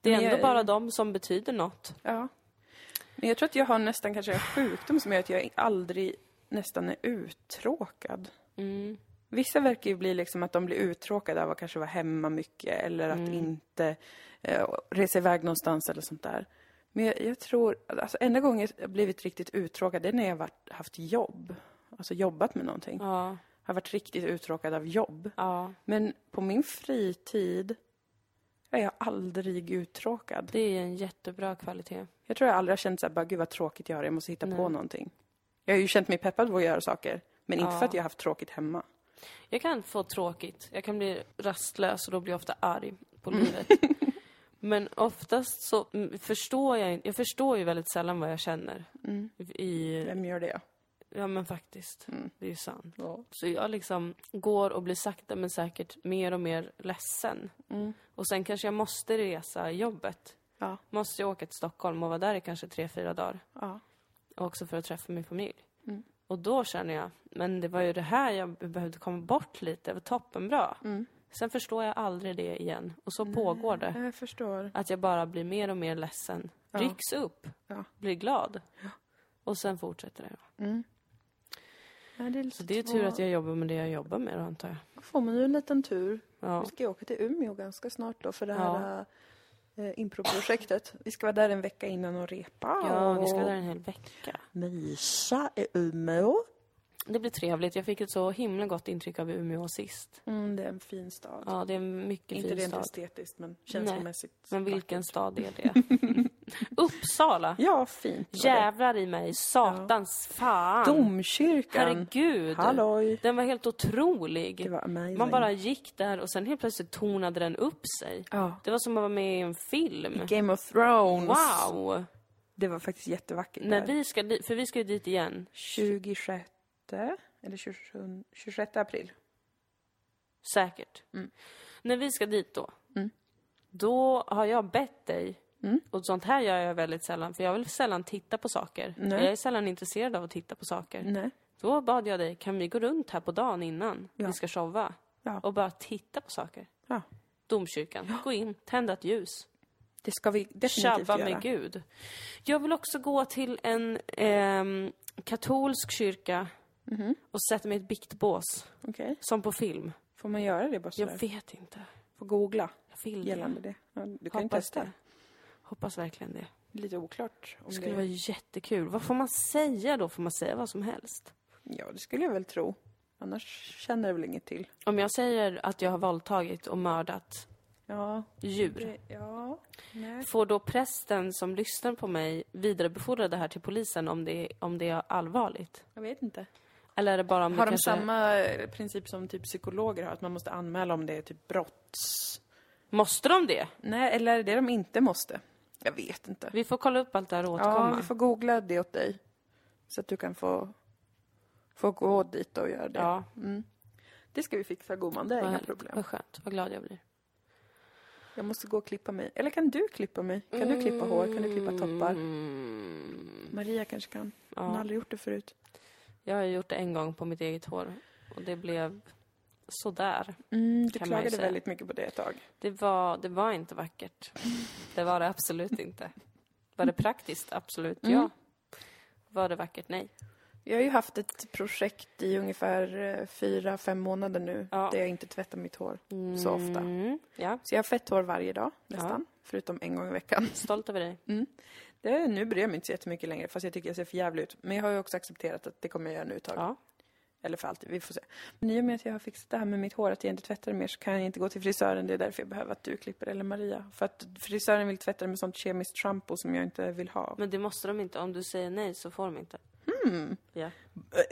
B: Det är
A: Men jag-
B: ändå bara de som betyder något.
A: ja. Men jag tror att jag har nästan kanske en sjukdom som gör att jag aldrig nästan är uttråkad.
B: Mm.
A: Vissa verkar ju bli liksom att de blir uttråkade av att kanske vara hemma mycket eller
B: Mm.
A: att inte eh, resa iväg någonstans eller sånt där. Men jag, jag tror, alltså enda gången jag blivit riktigt uttråkad det är när jag varit, haft jobb. Alltså jobbat med någonting.
B: Ja,
A: Har varit riktigt uttråkad av jobb.
B: ja.
A: Men på min fritid är jag aldrig uttråkad.
B: Det är en jättebra kvalitet.
A: Jag tror jag aldrig har känt såhär, bara gud vad tråkigt jag har, jag måste hitta på någonting. Jag har ju känt mig peppad på att göra saker. Men inte
B: Ja.
A: för att jag har haft tråkigt hemma.
B: Jag kan få tråkigt. Jag kan bli rastlös och då blir jag ofta arg på livet. Men oftast så mm, förstår jag inte. Jag förstår ju väldigt sällan vad jag känner. I,
A: Vem gör det?
B: ja men faktiskt. Det är ju sant.
A: Ja.
B: Så jag liksom går och blir sakta men säkert mer och mer ledsen. Och sen kanske jag måste resa i jobbet.
A: Ja.
B: Måste jag åka till Stockholm och vara där i kanske tre, fyra dagar.
A: ja.
B: Och också för att träffa min familj.
A: Mm.
B: Och då känner jag, men det var ju det här jag behövde komma bort lite, det var toppenbra.
A: Mm.
B: Sen förstår jag aldrig det igen. Och så pågår det.
A: Jag förstår.
B: Att jag bara blir mer och mer ledsen. Rycks upp,
A: Ja.
B: blir glad. Och sen fortsätter det.
A: Nej, det är
B: Så det är
A: två-
B: tur att jag jobbar med det jag jobbar med då, antar jag.
A: Då får man ju en liten tur.
B: Ja.
A: Vi ska ju åka till Umeå ganska snart då för det
B: Ja.
A: här eh, improprojektet. Vi ska vara där en vecka innan och repa
B: ja,
A: och
B: vi ska där en hel vecka.
A: mysa i Umeå.
B: Det blir trevligt. Jag fick ett så himla gott intryck av Umeå sist.
A: Mm, det är en fin stad.
B: Ja, det är en mycket
A: Inte
B: fin
A: rent
B: stad.
A: estetiskt men känslomässigt.
B: Men vilken stad är det? Uppsala!
A: Ja, fint. var det.
B: Jävlar i mig, satans fan!
A: Domkyrkan.
B: Herregud!
A: Halloj.
B: Den var helt otrolig.
A: Det var amazing.
B: Man bara gick där och sen helt plötsligt tonade den upp sig.
A: Ja.
B: Det var som att vara med i en film.
A: Game of Thrones.
B: Wow!
A: Det var faktiskt jättevackert
B: När
A: där.
B: vi ska dit, för vi ska ju dit igen.
A: 26 eller 27, 26 april.
B: Säkert.
A: Mm.
B: När vi ska dit då, då har jag bett dig,
A: Mm.
B: och sånt här gör jag väldigt sällan, för jag vill sällan titta på saker.
A: Nej.
B: Jag är sällan intresserad av att titta på saker.
A: Nej.
B: Då bad jag dig, kan vi gå runt här på dagen innan
A: Ja.
B: vi ska showa?
A: Ja.
B: Och bara titta på saker.
A: Ja.
B: Domkyrkan, gå in, tända ett ljus,
A: Det ska vi definitivt
B: tjabba
A: göra.
B: med Gud. Jag vill också gå till en ehm, katolsk kyrka
A: Mhm.
B: och sätta mig i ett biktbås,
A: Okej.
B: som på film.
A: Får man göra det bara
B: Jag
A: sådär?
B: vet inte.
A: Får googla
B: Jag vill det.
A: gällande det. Ja, du kan ju
B: Hoppas
A: testa.
B: det. Hoppas verkligen det.
A: Lite oklart. Om
B: Det
A: det...
B: skulle vara jättekul. Vad får man säga då? Får man säga vad som helst?
A: Ja, det skulle jag väl tro. Annars känner jag väl inget till.
B: Om jag säger att jag har våldtagit och mördat
A: Ja.
B: djur,
A: Ja. Nej.
B: får då prästen som lyssnar på mig vidarebefordra det här till polisen om det, om det är allvarligt?
A: Jag vet inte.
B: Eller är det bara om
A: Har
B: det
A: de
B: kanske...
A: samma eh, princip som typ psykologer har? Att man måste anmäla om det är typ brotts...
B: Måste de det?
A: Nej, eller är det de inte måste? Jag vet inte.
B: Vi får kolla upp allt det här och återkomma.
A: Ja, vi får googla det åt dig. Så att du kan få, få gå dit och göra det.
B: Ja,
A: Det ska vi fixa gumman, det är
B: vad
A: inga
B: härligt.
A: problem.
B: Vad skönt. Vad glad jag blir.
A: Jag måste gå och klippa mig. Eller kan du klippa mig? Kan du klippa hår? Kan du klippa toppar?
B: Mm.
A: Maria kanske kan. Hon har
B: Ja.
A: aldrig gjort det förut.
B: Jag har gjort det en gång på mitt eget hår och det blev sådär.
A: Mm, du
B: Kan man ju
A: klagade
B: säga.
A: väldigt mycket på det ett tag.
B: Det var, det var inte vackert. Det var det absolut inte. Var det praktiskt? Absolut
A: Mm.
B: ja. Var det vackert? Nej.
A: Jag har ju haft ett projekt i ungefär eh, fyra, fem månader nu
B: Ja.
A: där jag inte tvättar mitt hår så ofta.
B: Mm. Ja,
A: Så jag har fett hår varje dag nästan, förutom en gång i veckan.
B: stolt över dig.
A: Det, är- nu bryr jag mig inte så jättemycket längre fast jag tycker jag ser för jävligt ut. Men jag har ju också accepterat att det kommer jag göra nu ett tag.
B: Ja.
A: Eller för alltid, vi får se. Men i och med att jag har fixat det här med mitt hår, att jag inte tvättar det mer, så kan jag inte gå till frisören. Det är därför jag behöver att du klipper eller Maria. För att frisören vill tvätta det med sånt kemiskt shampoo som jag inte vill ha.
B: Men det måste de inte. Om du säger nej så får de inte.
A: Hmm.
B: Ja.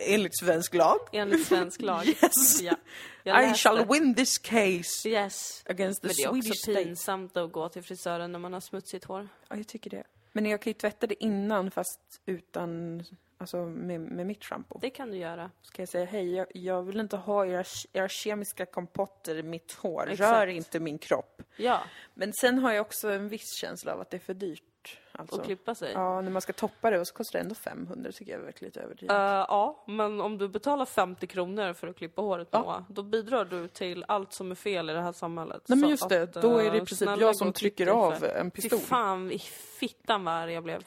A: Enligt svensk lag.
B: Enligt svensk lag.
A: Yes.
B: Ja. Jag läste.
A: win this case
B: Yes.
A: against
B: Men det är också pinsamt att gå till frisören när man har smutsigt hår.
A: Ja, jag tycker det. Men jag kan ju tvätta det innan fast utan, alltså med, med mitt shampoo.
B: Det kan du göra.
A: Ska jag säga hej, jag, jag vill inte ha era, era kemiska kompotter i mitt hår. Rör
B: Exakt.
A: inte min kropp.
B: Ja,
A: Men sen har jag också en viss känsla av att det är för dyrt. Alltså.
B: och klippa sig.
A: Ja, när man ska toppa det och så kostar det ändå 500 tycker jag är verkligen lite överdrivet.
B: Eh, ja, men om du betalar 50 kronor för att klippa håret Noah, då bidrar du till allt som är fel i det här samhället.
A: Nej men
B: Så
A: just det,
B: att, eh,
A: då är det i princip
B: snälla
A: jag
B: gå
A: som
B: och klipp
A: trycker
B: dig
A: av
B: för-
A: en pistol.
B: Fy fan, i fittan vad arg jag blev.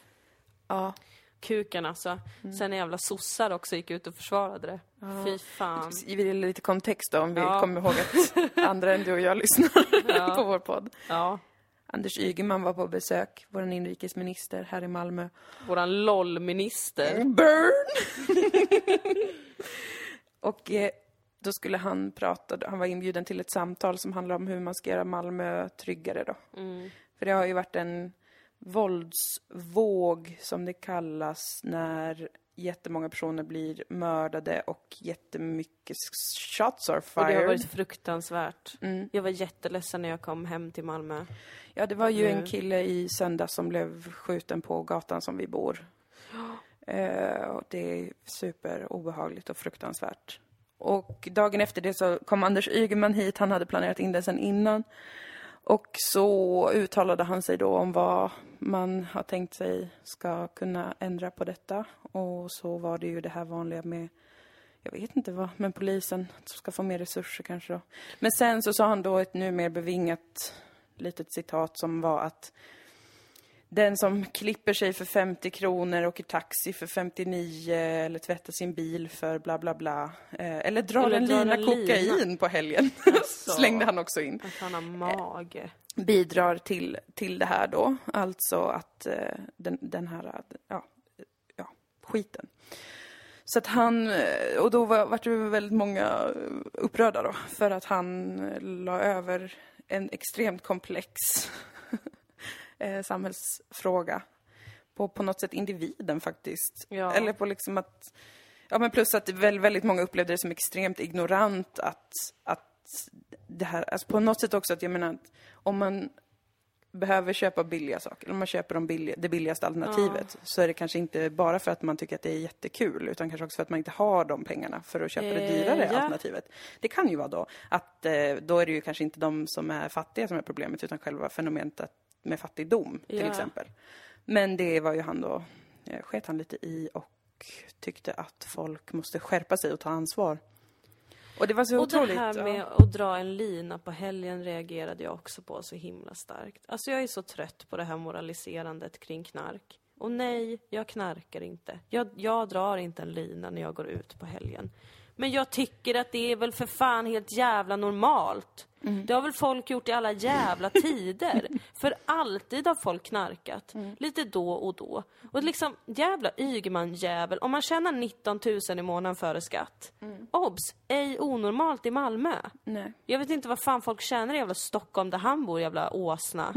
A: Ja.
B: Kuken alltså. Sen när jävla sossar också gick ut och försvarade det. Fy fan.
A: Vi vill lite kontext då om vi
B: Ja.
A: kommer ihåg att andra än du och jag lyssnar
B: Ja.
A: på vår podd.
B: Ja,
A: Anders Ygeman var på besök, vår inrikesminister här i Malmö.
B: våran
A: Mm.
B: LOL-minister.
A: Burn! och eh, då skulle han prata, han var inbjuden till ett samtal som handlar om hur man ska göra Malmö tryggare då.
B: Mm.
A: För det har ju varit en våldsvåg som det kallas när jättemånga personer blir mördade och jättemycket shots are
B: Och det har
A: fired.
B: varit fruktansvärt. Jag var jätteledsen när jag kom hem till Malmö.
A: Ja, det var ju en kille i söndag som blev skjuten på gatan som vi bor. Eh, och det är superobehagligt och fruktansvärt. Och dagen efter det så kom Anders Ygeman hit, han hade planerat in det sen innan. Och så uttalade han sig då om vad man har tänkt sig ska kunna ändra på detta. Och så var det ju det här vanliga med jag vet inte vad, men polisen som ska få mer resurser kanske då. Men sen så sa han då ett numera bevingat litet citat som var att Den som klipper sig för 50 kronor, åker taxi för 59 eller tvättar sin bil för bla bla bla. Eh, eller drar
B: Eller
A: en
B: drar
A: lina
B: en lina.
A: kokain på helgen.
B: Alltså.
A: Slängde han också in.
B: Att han har mage.
A: Bidrar till, till det här då. Alltså att eh, den, den här, eh, ja, ja, skiten. Så att han, eh, och då var, vart det väldigt många eh, upprörda då. För att han eh, la över en extremt komplex eh, samhällsfråga på, på något sätt individen faktiskt.
B: Ja.
A: Eller på liksom att, ja men plus att det väl, väldigt många upplevde det som extremt ignorant att, att det här, alltså på något sätt också att jag menar att om man behöver köpa billiga saker, om man köper de billiga, det billigaste alternativet så är det kanske inte bara för att man tycker att det är jättekul utan kanske också för att man inte har de pengarna för att köpa det
B: Eh,
A: dyrare
B: ja.
A: alternativet. Det kan ju vara då att eh, då är det ju kanske inte de som är fattiga som är problemet utan själva fenomenet att- med fattigdom till
B: Ja.
A: exempel. Men det var ju han då, eh, sket han lite i och tyckte att folk måste skärpa sig och ta ansvar. Och det var så
B: Och
A: Alltså, otroligt.
B: det här
A: ja.
B: med att dra en lina på helgen reagerade jag också på så himla starkt. Alltså jag är så trött på det här moraliserandet kring knark. Och nej, jag knarkar inte. Jag, jag drar inte en lina när jag går ut på helgen. Men jag tycker att det är väl för fan helt jävla normalt.
A: Mm.
B: Det har väl folk gjort i alla jävla tider. för alltid har folk knarkat.
A: Mm.
B: Lite då och då. Och liksom, jävla Ygeman-jävel. Om man tjänar 19 000 i månaden före skatt. Obs! Ej onormalt i Malmö.
A: Nej.
B: Jag vet inte vad fan folk tjänar i jävla Stockholm där han bor, jävla åsna.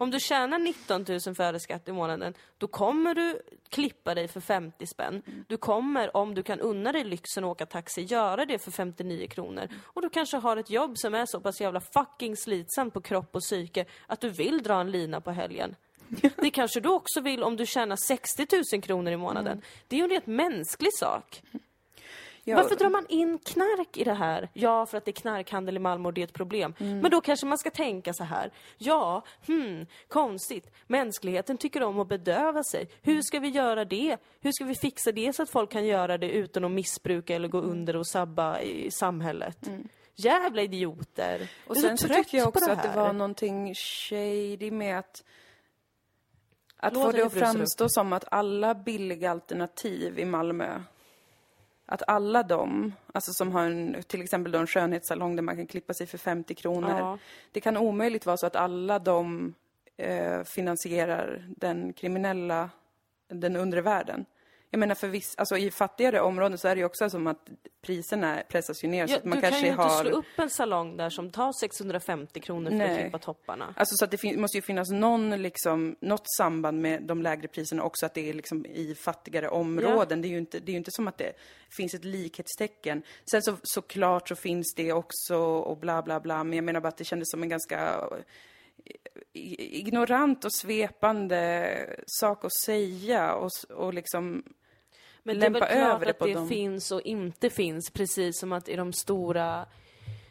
B: Om du tjänar 19 000 före skatt i månaden, då kommer du klippa dig för 50 spänn. Du kommer, om du kan unna dig lyxen att åka taxi, göra det för 59 kronor. Och du kanske har ett jobb som är så pass jävla fucking slitsamt på kropp och psyke att du vill dra en lina på helgen. Det kanske du också vill om du tjänar 60 000 kronor i månaden. Det är ju en helt mänsklig sak.
A: Mm. Ja,
B: Varför drar man in knark i det här? Ja, för att det är knarkhandel i Malmö och det är ett problem.
A: Mm.
B: Men då kanske man ska tänka så här. Ja, hmm, konstigt. Mänskligheten tycker om att bedöva sig. Hur ska vi göra det? Hur ska vi fixa det så att folk kan göra det utan att missbruka eller gå under och sabba i samhället? Jävla idioter!
A: Mm. Och
B: Jag är
A: sen så
B: trött
A: tycker jag
B: på
A: också att det
B: här.
A: var någonting shady med att att
B: Låt
A: få
B: det
A: det att
B: brusa upp.
A: framstå som att alla billiga alternativ i Malmö, att alla de, alltså som har en, till exempel då en skönhetssalong där man kan klippa sig för 50 kronor,
B: Ja.
A: det kan omöjligt vara så att alla de eh, finansierar den kriminella, den undre världen. Jag menar för viss, alltså i fattigare områden så är det ju också som att priserna pressas ju ner så
B: Ja,
A: Alltså att man
B: du
A: kanske
B: kan ju inte
A: har...
B: slå upp en salong där som tar 650 kronor för att
A: Nej.
B: klippa topparna.
A: Alltså så att det fin- måste ju finnas någon, liksom, något samband med de lägre priserna också, att det är liksom i fattigare områden. Det, är ju inte, det är ju inte som att det finns ett likhetstecken. Sen så, såklart så finns det också och bla bla bla, men jag menar bara att det kändes som en ganska i- ignorant och svepande sak att säga och, s- och liksom
B: Men
A: lämpa
B: det är väl klart
A: över det
B: att
A: på
B: det
A: dem.
B: finns och inte finns, precis som att i de stora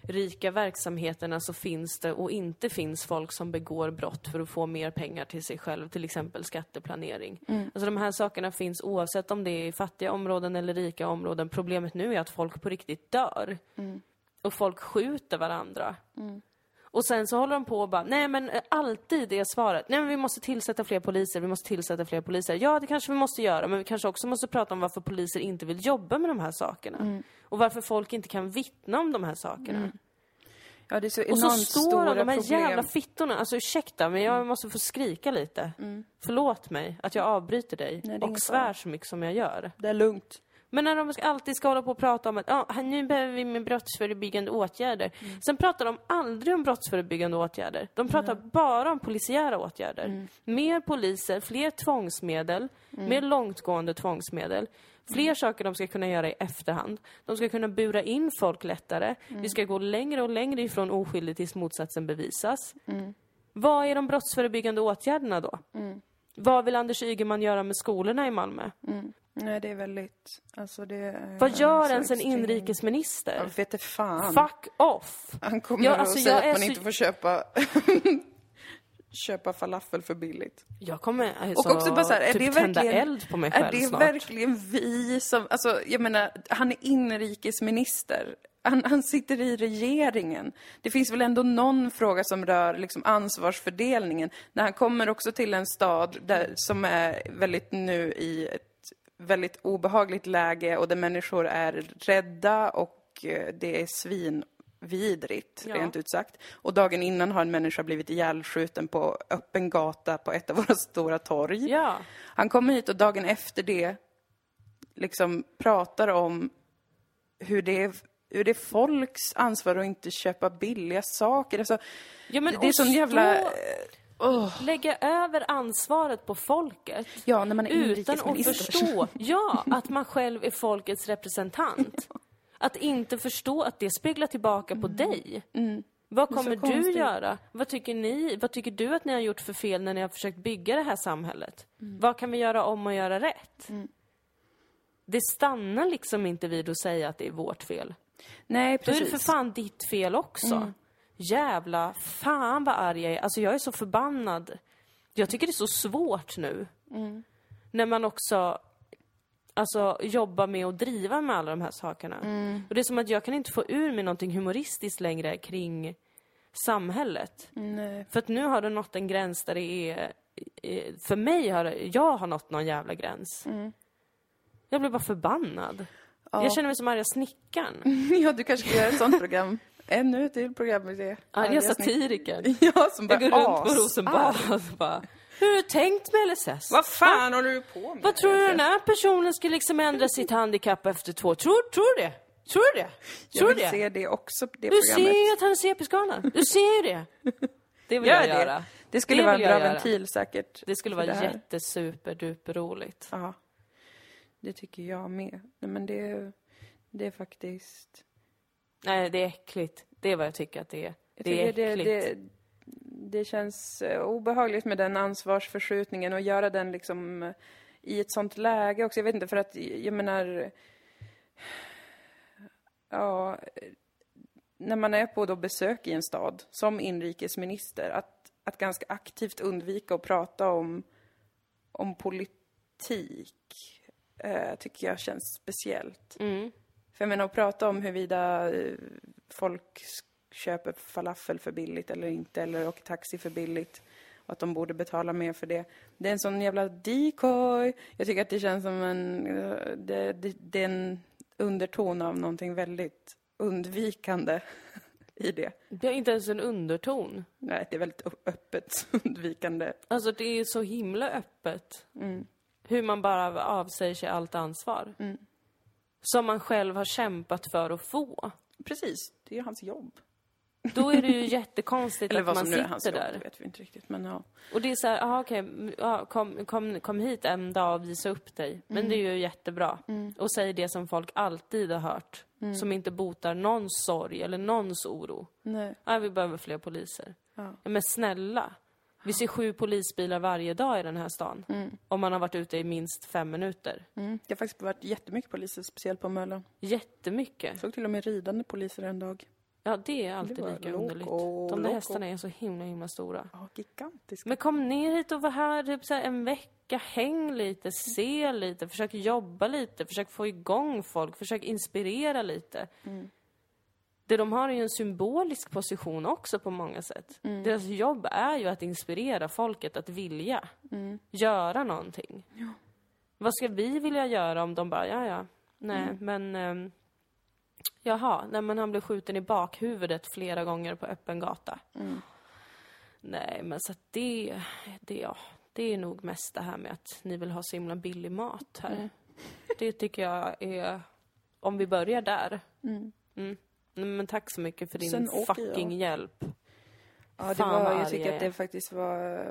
B: rika verksamheterna så finns det och inte finns folk som begår brott för att få mer pengar till sig själv, till exempel skatteplanering.
A: Mm.
B: Alltså de här sakerna finns oavsett om det är i fattiga områden eller rika områden. Problemet nu är att folk på riktigt dör.
A: Mm.
B: Och folk skjuter varandra. Och sen så håller de på och bara, nej men eh, alltid är svaret, nej men vi måste tillsätta fler poliser, vi måste tillsätta fler poliser. Ja, det kanske vi måste göra, men vi kanske också måste prata om varför poliser inte vill jobba med de här sakerna.
A: Mm.
B: Och varför folk inte kan vittna om de här sakerna.
A: Ja, det är så
B: Och
A: Mm. enormt
B: så står
A: stora
B: de, de här
A: problem.
B: jävla fittorna, alltså ursäkta, men jag måste få skrika lite. Förlåt mig att jag avbryter dig
A: Mm. Nej, det är ingen
B: och svär så mycket som jag gör.
A: Det är lugnt.
B: Men när de ska- alltid ska hålla på och prata om att "Ja, nu behöver vi mer brottsförebyggande åtgärder. Sen pratar de aldrig om brottsförebyggande åtgärder. De pratar bara om polisiära åtgärder. Mer poliser, fler tvångsmedel, mer långtgående tvångsmedel. Fler saker de ska kunna göra i efterhand. De ska kunna bura in folk lättare. Vi ska gå längre och längre ifrån oskyldig tills motsatsen bevisas. Vad är de brottsförebyggande åtgärderna då? Vad vill Anders Ygeman göra med skolorna i Malmö?
A: Nej, det är väldigt... Alltså det är
B: Vad gör
A: så
B: ens en
A: extremt. Jag
B: inrikesminister?
A: vet inte Alltså, fan.
B: Fuck off!
A: Han kommer
B: Ja,
A: att
B: alltså,
A: säga
B: jag
A: att
B: är
A: man
B: så-
A: inte får köpa, köpa falafel för billigt.
B: Jag kommer alltså,
A: Och också bara så här, är
B: typ
A: det
B: tända
A: verkligen...
B: eld på mig
A: är
B: själv
A: det
B: snart.
A: verkligen vi som... Alltså, jag menar, han är inrikesminister. han, han sitter i regeringen. Det finns väl ändå någon fråga som rör liksom ansvarsfördelningen. När han kommer också till en stad där, som är väldigt nu i ett väldigt obehagligt läge och där människor är rädda och eh, det är svinvidrigt,
B: Ja.
A: rent ut sagt. Och dagen innan har en människa blivit ihjälskjuten på öppen gata på ett av våra stora torg.
B: Ja.
A: Han kommer hit och dagen efter det liksom pratar om hur det är, hur det är folks ansvar att inte köpa billiga saker. Alltså,
B: ja men
A: det är
B: och
A: sån jävla... eh,
B: stå- Lägga över ansvaret på folket.
A: Ja, när man är
B: Utan att
A: inrikesminister.
B: förstå, ja, att man själv är folkets representant. Att inte förstå att det speglar tillbaka på dig. Vad
A: Mm. är så
B: kommer du
A: konstigt.
B: göra? Vad tycker, ni, vad tycker du att ni har gjort för fel när ni har försökt bygga det här samhället?
A: Mm.
B: Vad kan vi göra om och göra rätt? Det stannar liksom inte vid att säga att det är vårt fel.
A: Nej,
B: Då är det
A: precis. Mm.
B: för fan ditt fel också. Jävla fan vad arg jag är. Alltså jag är så förbannad. Jag tycker det är så svårt nu.
A: Mm.
B: När man också alltså, jobbar med att driva med alla de här sakerna.
A: Mm.
B: Och det är som att jag kan inte få ur mig någonting humoristiskt längre kring samhället.
A: Nej.
B: För att nu har det nått en gräns där det är... eh, För mig har det- jag har nått någon jävla gräns.
A: Mm.
B: Jag blir bara förbannad. Jag känner mig som arga snickaren.
A: Ja, du kanske ska göra ett sånt program. Ännu ett till program med det.
B: Arga satiriker.
A: Ja, som bara
B: Jag typ- går runt på
A: as.
B: Rosenbad och så bara, hur har du tänkt med LSS?
A: Vad fan håller du på med?
B: Vad tror du den här personen ska liksom ändra sitt handikapp efter två? Tror, tror du det? Tror du det?
A: Jag
B: Tror
A: vill
B: du det?
A: se det också, det
B: Du
A: programmet.
B: ser ju att han är CP-skadad. Du ser ju det. Det vill
A: Gör
B: jag
A: det.
B: göra.
A: Det skulle
B: Det
A: vara en
B: vill jag
A: bra
B: göra.
A: ventil säkert.
B: Det skulle
A: för
B: vara
A: här.
B: jättesuperduper roligt.
A: Ja. Det tycker jag med. Nej, men det, det är faktiskt...
B: Nej, det är äckligt. Det är vad jag tycker att det är.
A: Jag
B: Det är
A: tycker
B: äckligt.
A: det, det känns eh, obehagligt med den ansvarsförskjutningen och göra den liksom eh, i ett sånt läge också. Jag vet inte, för att jag menar... Ja, eh, när man är på då besök i en stad som inrikesminister, att, att ganska aktivt undvika att prata om, om politik eh, tycker jag känns speciellt.
B: Mm.
A: För jag menar, att prata om huruvida eh, folk s- köper falafel för billigt eller inte, eller åker taxi för billigt och att de borde betala mer för det. Det är en sån jävla decoy. Jag tycker att det känns som en... eh, Det, det, det är en underton av någonting väldigt undvikande i det.
B: Det är inte ens en underton.
A: Nej, det är väldigt ö- öppet undvikande.
B: Alltså det är så himla öppet. Hur man bara avsäger sig allt ansvar. Som man själv har kämpat för att få.
A: Precis, det är ju hans jobb.
B: Då är det ju jättekonstigt att man
A: det
B: sitter där.
A: vet vi inte riktigt. Men ja.
B: Och det är så här, aha, okej, ja, kom, kom, kom hit en dag och visa upp dig. Men det är ju jättebra. Och säg det som folk alltid har hört. Som inte botar någons sorg eller någons oro.
A: Nej.
B: Ja, vi behöver fler poliser.
A: Ja.
B: Men snälla. Vi ser sju polisbilar varje dag i den här stan. Om man har varit ute i minst fem minuter.
A: Mm. Det har faktiskt varit jättemycket poliser, speciellt på Möllan.
B: Jättemycket.
A: såg till och med ridande poliser en dag.
B: Ja, det är alltid
A: Det var
B: lika
A: loco,
B: underligt. De där
A: loco.
B: hästarna är så himla, himla stora.
A: Ja, gigantiska.
B: Men kom ner hit och var här typ så här en vecka. Häng lite, se lite, försök jobba lite, försök få igång folk, försök inspirera lite. Det de har är ju en symbolisk position också på många sätt. Deras jobb är ju att inspirera folket att vilja göra någonting. Vad ska vi vilja göra om de bara, ja ja, nej men ehm, Jaha, nej men han blev skjuten i bakhuvudet flera gånger på öppen gata.
A: Mm.
B: Nej, men så att det, det, ja, det är nog mest det här med att ni vill ha så himla billig mat här.
A: Mm.
B: Det tycker jag är, om vi börjar där. Mm. Nej, Men tack så mycket för din
A: Sen åker
B: fucking
A: jag.
B: hjälp.
A: Ja, det
B: Fan, vad
A: var,
B: arg
A: jag tycker
B: jag
A: att
B: är.
A: det faktiskt var...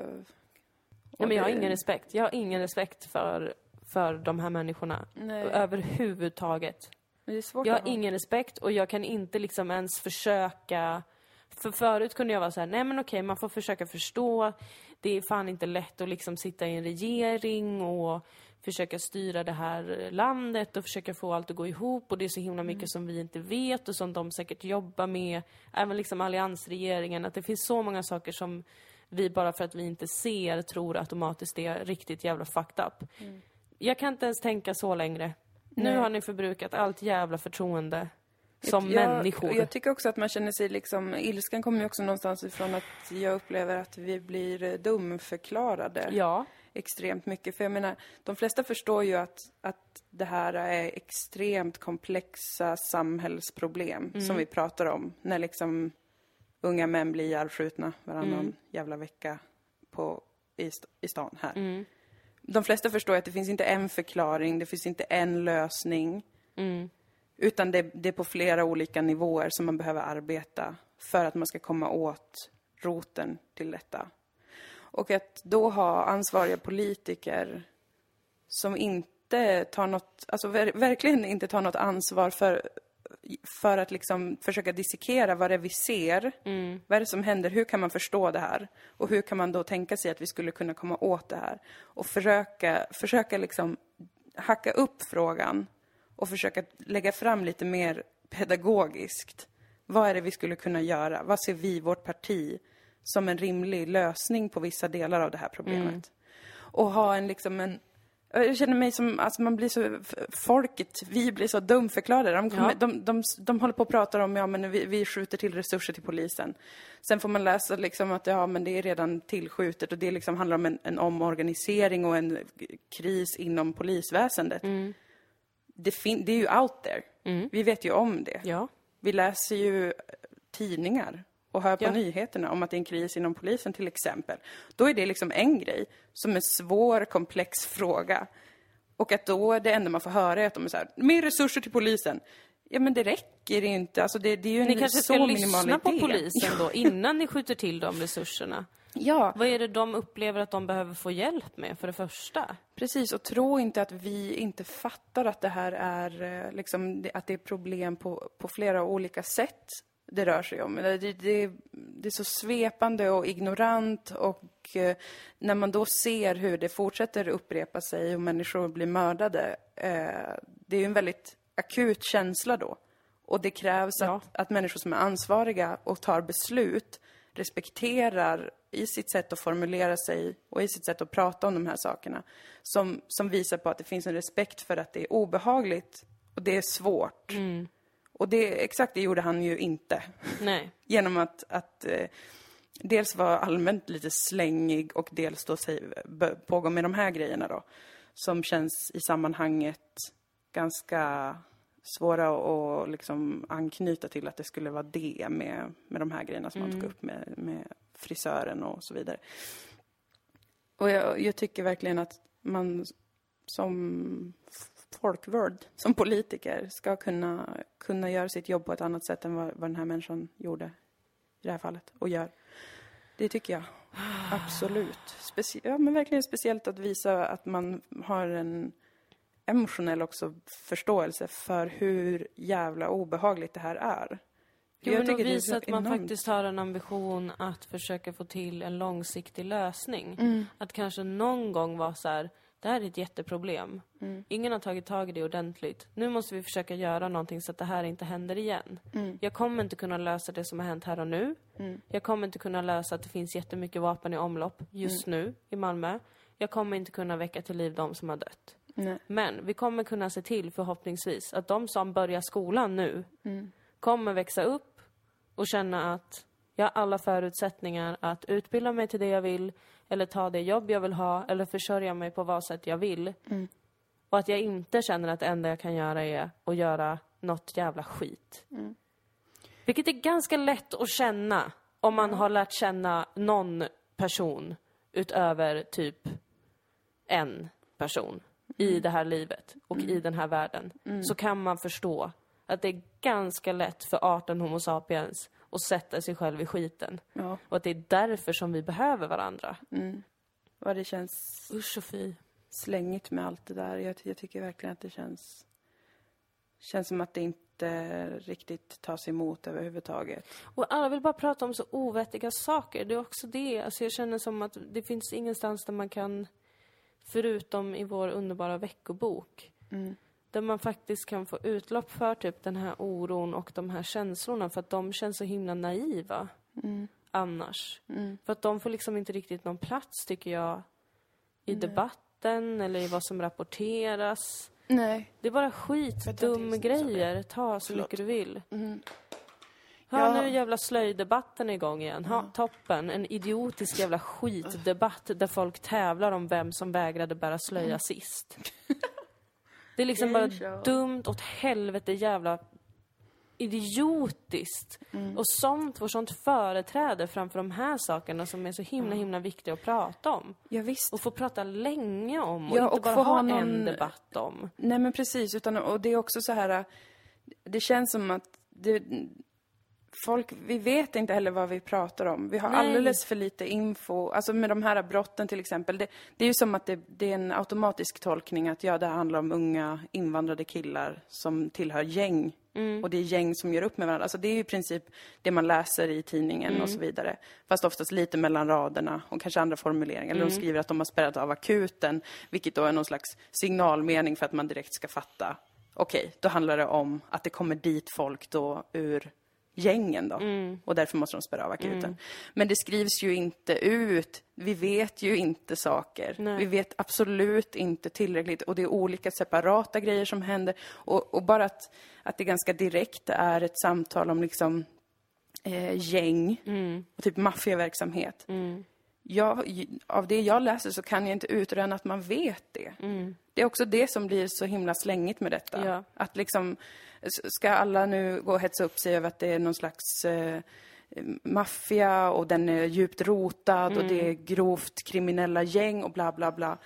B: Nej, men jag har
A: Och det-
B: ingen respekt. Jag har ingen respekt för, för de här människorna.
A: Nej.
B: Överhuvudtaget.
A: Men Det är svårt
B: Jag har
A: att ha.
B: ingen respekt och jag kan inte liksom ens försöka för förut kunde jag vara så här, nej men okej, man får försöka förstå. Det är fan inte lätt att liksom sitta i en regering och försöka styra det här landet och försöka få allt att gå ihop och det är så himla mycket som vi inte vet och som de säkert jobbar med. Även liksom alliansregeringen, att det finns så många saker som vi bara för att vi inte ser tror automatiskt är riktigt jävla fucked up. Jag kan inte ens tänka så längre. Nu har ni förbrukat allt jävla förtroende. som
A: jag,
B: människor.
A: Jag tycker också att man känner sig liksom, ilskan kommer ju också någonstans ifrån att jag upplever att vi blir eh, dumförklarade
B: ja,
A: extremt mycket. För jag menar, de flesta förstår ju att, att det här är extremt komplexa samhällsproblem som vi pratar om. När liksom unga män blir ihjälskjutna varannan jävla vecka på, i, st- i stan här. De flesta förstår ju att det finns inte en förklaring, det finns inte en lösning. Utan det, det är på flera olika nivåer som man behöver arbeta för att man ska komma åt roten till detta. Och att då ha ansvariga politiker som inte tar något, alltså ver verkligen inte tar något ansvar för, för att liksom försöka dissekera vad det är vi ser. Vad är det som händer? Hur kan man förstå det här? Och hur kan man då tänka sig att vi skulle kunna komma åt det här? Och försöka, försöka liksom hacka upp frågan och försöka lägga fram lite mer pedagogiskt. Vad är det vi skulle kunna göra? Vad ser vi, vårt parti, som en rimlig lösning på vissa delar av det här problemet? Och ha en liksom en... Jag känner mig som, alltså man blir så, folket, vi blir så dumförklarade. De, kommer,
B: Ja.
A: de, de, de håller på och pratar om, ja men vi, vi skjuter till resurser till polisen. Sen får man läsa liksom att, ja men det är redan tillskjutet och det liksom handlar om en, en omorganisering och en kris inom polisväsendet det, fin- det är ju out there. Vi vet ju om det.
B: ja.
A: Vi läser ju eh, tidningar och hör på
B: Ja.
A: nyheterna om att det är en kris inom polisen till exempel. Då är det liksom en grej som är svår, komplex fråga. Och att då är det enda man får höra är att de är så här, mer resurser till polisen. Ja men det räcker ju inte, alltså det, det är ju
B: Ni
A: en
B: kanske
A: så
B: ska
A: minimal idé.
B: lyssna på polisen då innan ni skjuter till de resurserna.
A: Ja,
B: Vad är det de upplever att de behöver få hjälp med för det första?
A: Precis, och tro inte att vi inte fattar att det här är eh, liksom, det- att det är problem på, på flera olika sätt det rör sig om. Det, det, det- det är så svepande och ignorant och eh, när man då ser hur det fortsätter upprepa sig och människor blir mördade, eh, det är ju en väldigt akut känsla då. Och det krävs
B: Ja.
A: att, att människor som är ansvariga och tar beslut respekterar i sitt sätt att formulera sig och i sitt sätt att prata om de här sakerna. Som, som visar på att det finns en respekt för att det är obehagligt och det är svårt. Och det, exakt det gjorde han ju inte.
B: Nej.
A: Genom att, att eh, dels vara allmänt lite slängig och dels då sig, b- pågå med de här grejerna då. Som känns i sammanhanget ganska svåra att att liksom anknyta till att det skulle vara det med, med de här grejerna som man tog upp med, med frisören och så vidare. Och jag, jag tycker verkligen att man som f- folkvald, som politiker, ska kunna, kunna göra sitt jobb på ett annat sätt än vad, vad den här människan gjorde i det här fallet och gör. Det tycker jag. Absolut. Specie- ja, men verkligen speciellt att visa att man har en emotionell också förståelse för hur jävla obehagligt det här är.
B: Jo, men att
A: det är
B: visa
A: så
B: att man
A: enormt-
B: faktiskt har en ambition att försöka få till en långsiktig lösning.
A: Mm.
B: Att kanske någon gång vara så här, det här är ett jätteproblem.
A: Mm.
B: Ingen har tagit tag i det ordentligt. Nu måste vi försöka göra någonting så att det här inte händer igen.
A: Mm.
B: Jag kommer inte kunna lösa det som har hänt här och nu. Jag kommer inte kunna lösa att det finns jättemycket vapen i omlopp just
A: Mm.
B: nu i Malmö. Jag kommer inte kunna väcka till liv de som har dött.
A: Nej.
B: Men vi kommer kunna se till förhoppningsvis att de som börjar skolan nu kommer växa upp och känna att jag har alla förutsättningar att utbilda mig till det jag vill eller ta det jobb jag vill ha eller försörja mig på vad sätt jag vill. Och att jag inte känner att det enda jag kan göra är att göra något jävla skit. Vilket är ganska lätt att känna om man har lärt känna någon person utöver typ en person i det här livet och i den här världen så kan man förstå att det är ganska lätt för arten Homo sapiens att sätta sig själv i skiten.
A: Ja,
B: Och att det är därför som vi behöver varandra.
A: vad det känns
B: Usch och fy.
A: slängigt med allt det där. Jag, jag tycker verkligen att det känns... Känns som att det inte riktigt tas emot överhuvudtaget.
B: Och alla vill bara prata om så ovettiga saker. Det är också det. Alltså jag känner som att det finns ingenstans där man kan, förutom i vår underbara veckobok, där man faktiskt kan få utlopp för typ den här oron och de här känslorna för att de känns så himla naiva annars. För att de får liksom inte riktigt någon plats tycker jag i debatten eller i vad som rapporteras.
A: Nej.
B: Det är bara
A: Vänta, det är
B: skitdum
A: så-
B: grejer. Ta så
A: Förlåt. Mm.
B: mycket du vill. Ja,
A: Ja.
B: nu är jävla slöjddebatten igång igen. Ha, Toppen. En idiotisk jävla skitdebatt där folk tävlar om vem som vägrade bära
A: Mm.
B: slöja sist. Det är liksom bara
A: Usual.
B: dumt åt helvete jävla idiotiskt.
A: Mm.
B: Och sånt får sånt företräde framför de här sakerna som är så
A: Mm.
B: himla, himla viktiga att prata om.
A: Ja, visst.
B: Och få prata länge om och
A: Ja,
B: inte
A: och
B: bara
A: få
B: ha,
A: ha
B: en
A: någon-
B: debatt om.
A: Nej men precis, utan, och det är också så här, äh, det känns som att det, folk, vi vet inte heller vad vi pratar om. Vi har
B: Nej.
A: alldeles för lite info, alltså med de här brotten till exempel. Det, det är ju som att det, det är en automatisk tolkning att ja, det här handlar om unga invandrade killar som tillhör gäng. Och det är gäng som gör upp med varandra. Alltså det är ju i princip det man läser i tidningen och så vidare. Fast oftast lite mellan raderna och kanske andra formuleringar. Eller de skriver att de har spärrat av akuten, vilket då är någon slags signalmening för att man direkt ska fatta. Okej, då handlar det om att det kommer dit folk då ur gängen då. Och därför måste de spärra av akuten. Men det skrivs ju inte ut. Vi vet ju inte saker. Vi vet absolut inte tillräckligt. Och det är olika separata grejer som händer. Och, och bara att, att det ganska direkt är ett samtal om liksom eh, gäng och typ maffiaverksamhet. Jag, j- av det jag läser så kan jag inte utröna att man vet det. Det är också det som blir så himla slängigt med detta.
B: Ja.
A: Att liksom, s- ska alla nu gå och hetsa upp sig över att det är någon slags eh, maffia och den är djupt rotad och det är grovt kriminella gäng och bla bla bla.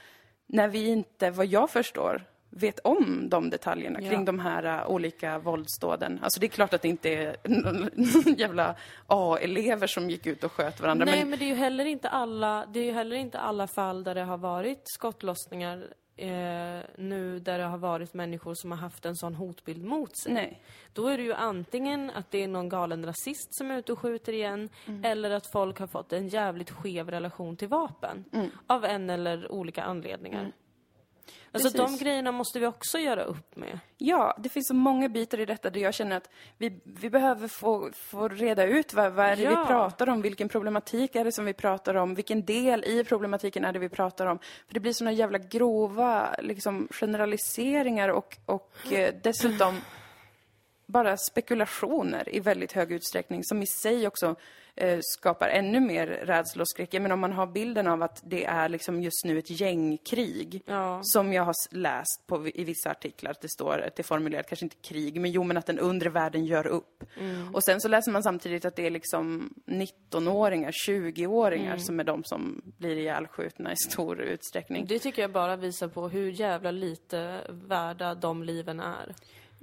A: När vi inte, vad jag förstår, vet om de detaljerna kring de här ä, olika våldsdåden. Alltså det är klart att det inte är någon jävla A-elever som gick ut och sköt varandra.
B: Nej,
A: men,
B: men det är ju heller inte alla, det är ju heller inte alla fall där det har varit skottlossningar eh, nu där det har varit människor som har haft en sån hotbild mot sig.
A: Nej.
B: Då är det ju antingen att det är någon galen rasist som är ute och skjuter igen
A: Mm.
B: eller att folk har fått en jävligt skev relation till vapen
A: Mm.
B: av en eller olika anledningar. Alltså
A: Precis.
B: de grejerna måste vi också göra upp med.
A: Ja, det finns så många bitar i detta där jag känner att vi, vi behöver få, få reda ut vad, vad är det
B: Ja.
A: vi pratar om, vilken problematik är det som vi pratar om, vilken del i problematiken är det vi pratar om. För det blir såna jävla grova liksom, generaliseringar och, och eh, dessutom bara spekulationer i väldigt hög utsträckning som i sig också eh, skapar ännu mer rädsla och skräck. Men om man har bilden av att det är liksom just nu ett gängkrig
B: Ja.
A: som jag har s- läst på, vi- i vissa artiklar att det står, att det är formulerat, kanske inte krig, men jo men att den undre världen gör upp.
B: Mm.
A: Och sen så läser man samtidigt att det är liksom 19-åringar, 20-åringar
B: Mm.
A: som är de som blir ihjälskjutna i stor utsträckning.
B: Det tycker jag bara visar på hur jävla lite värda de liven är.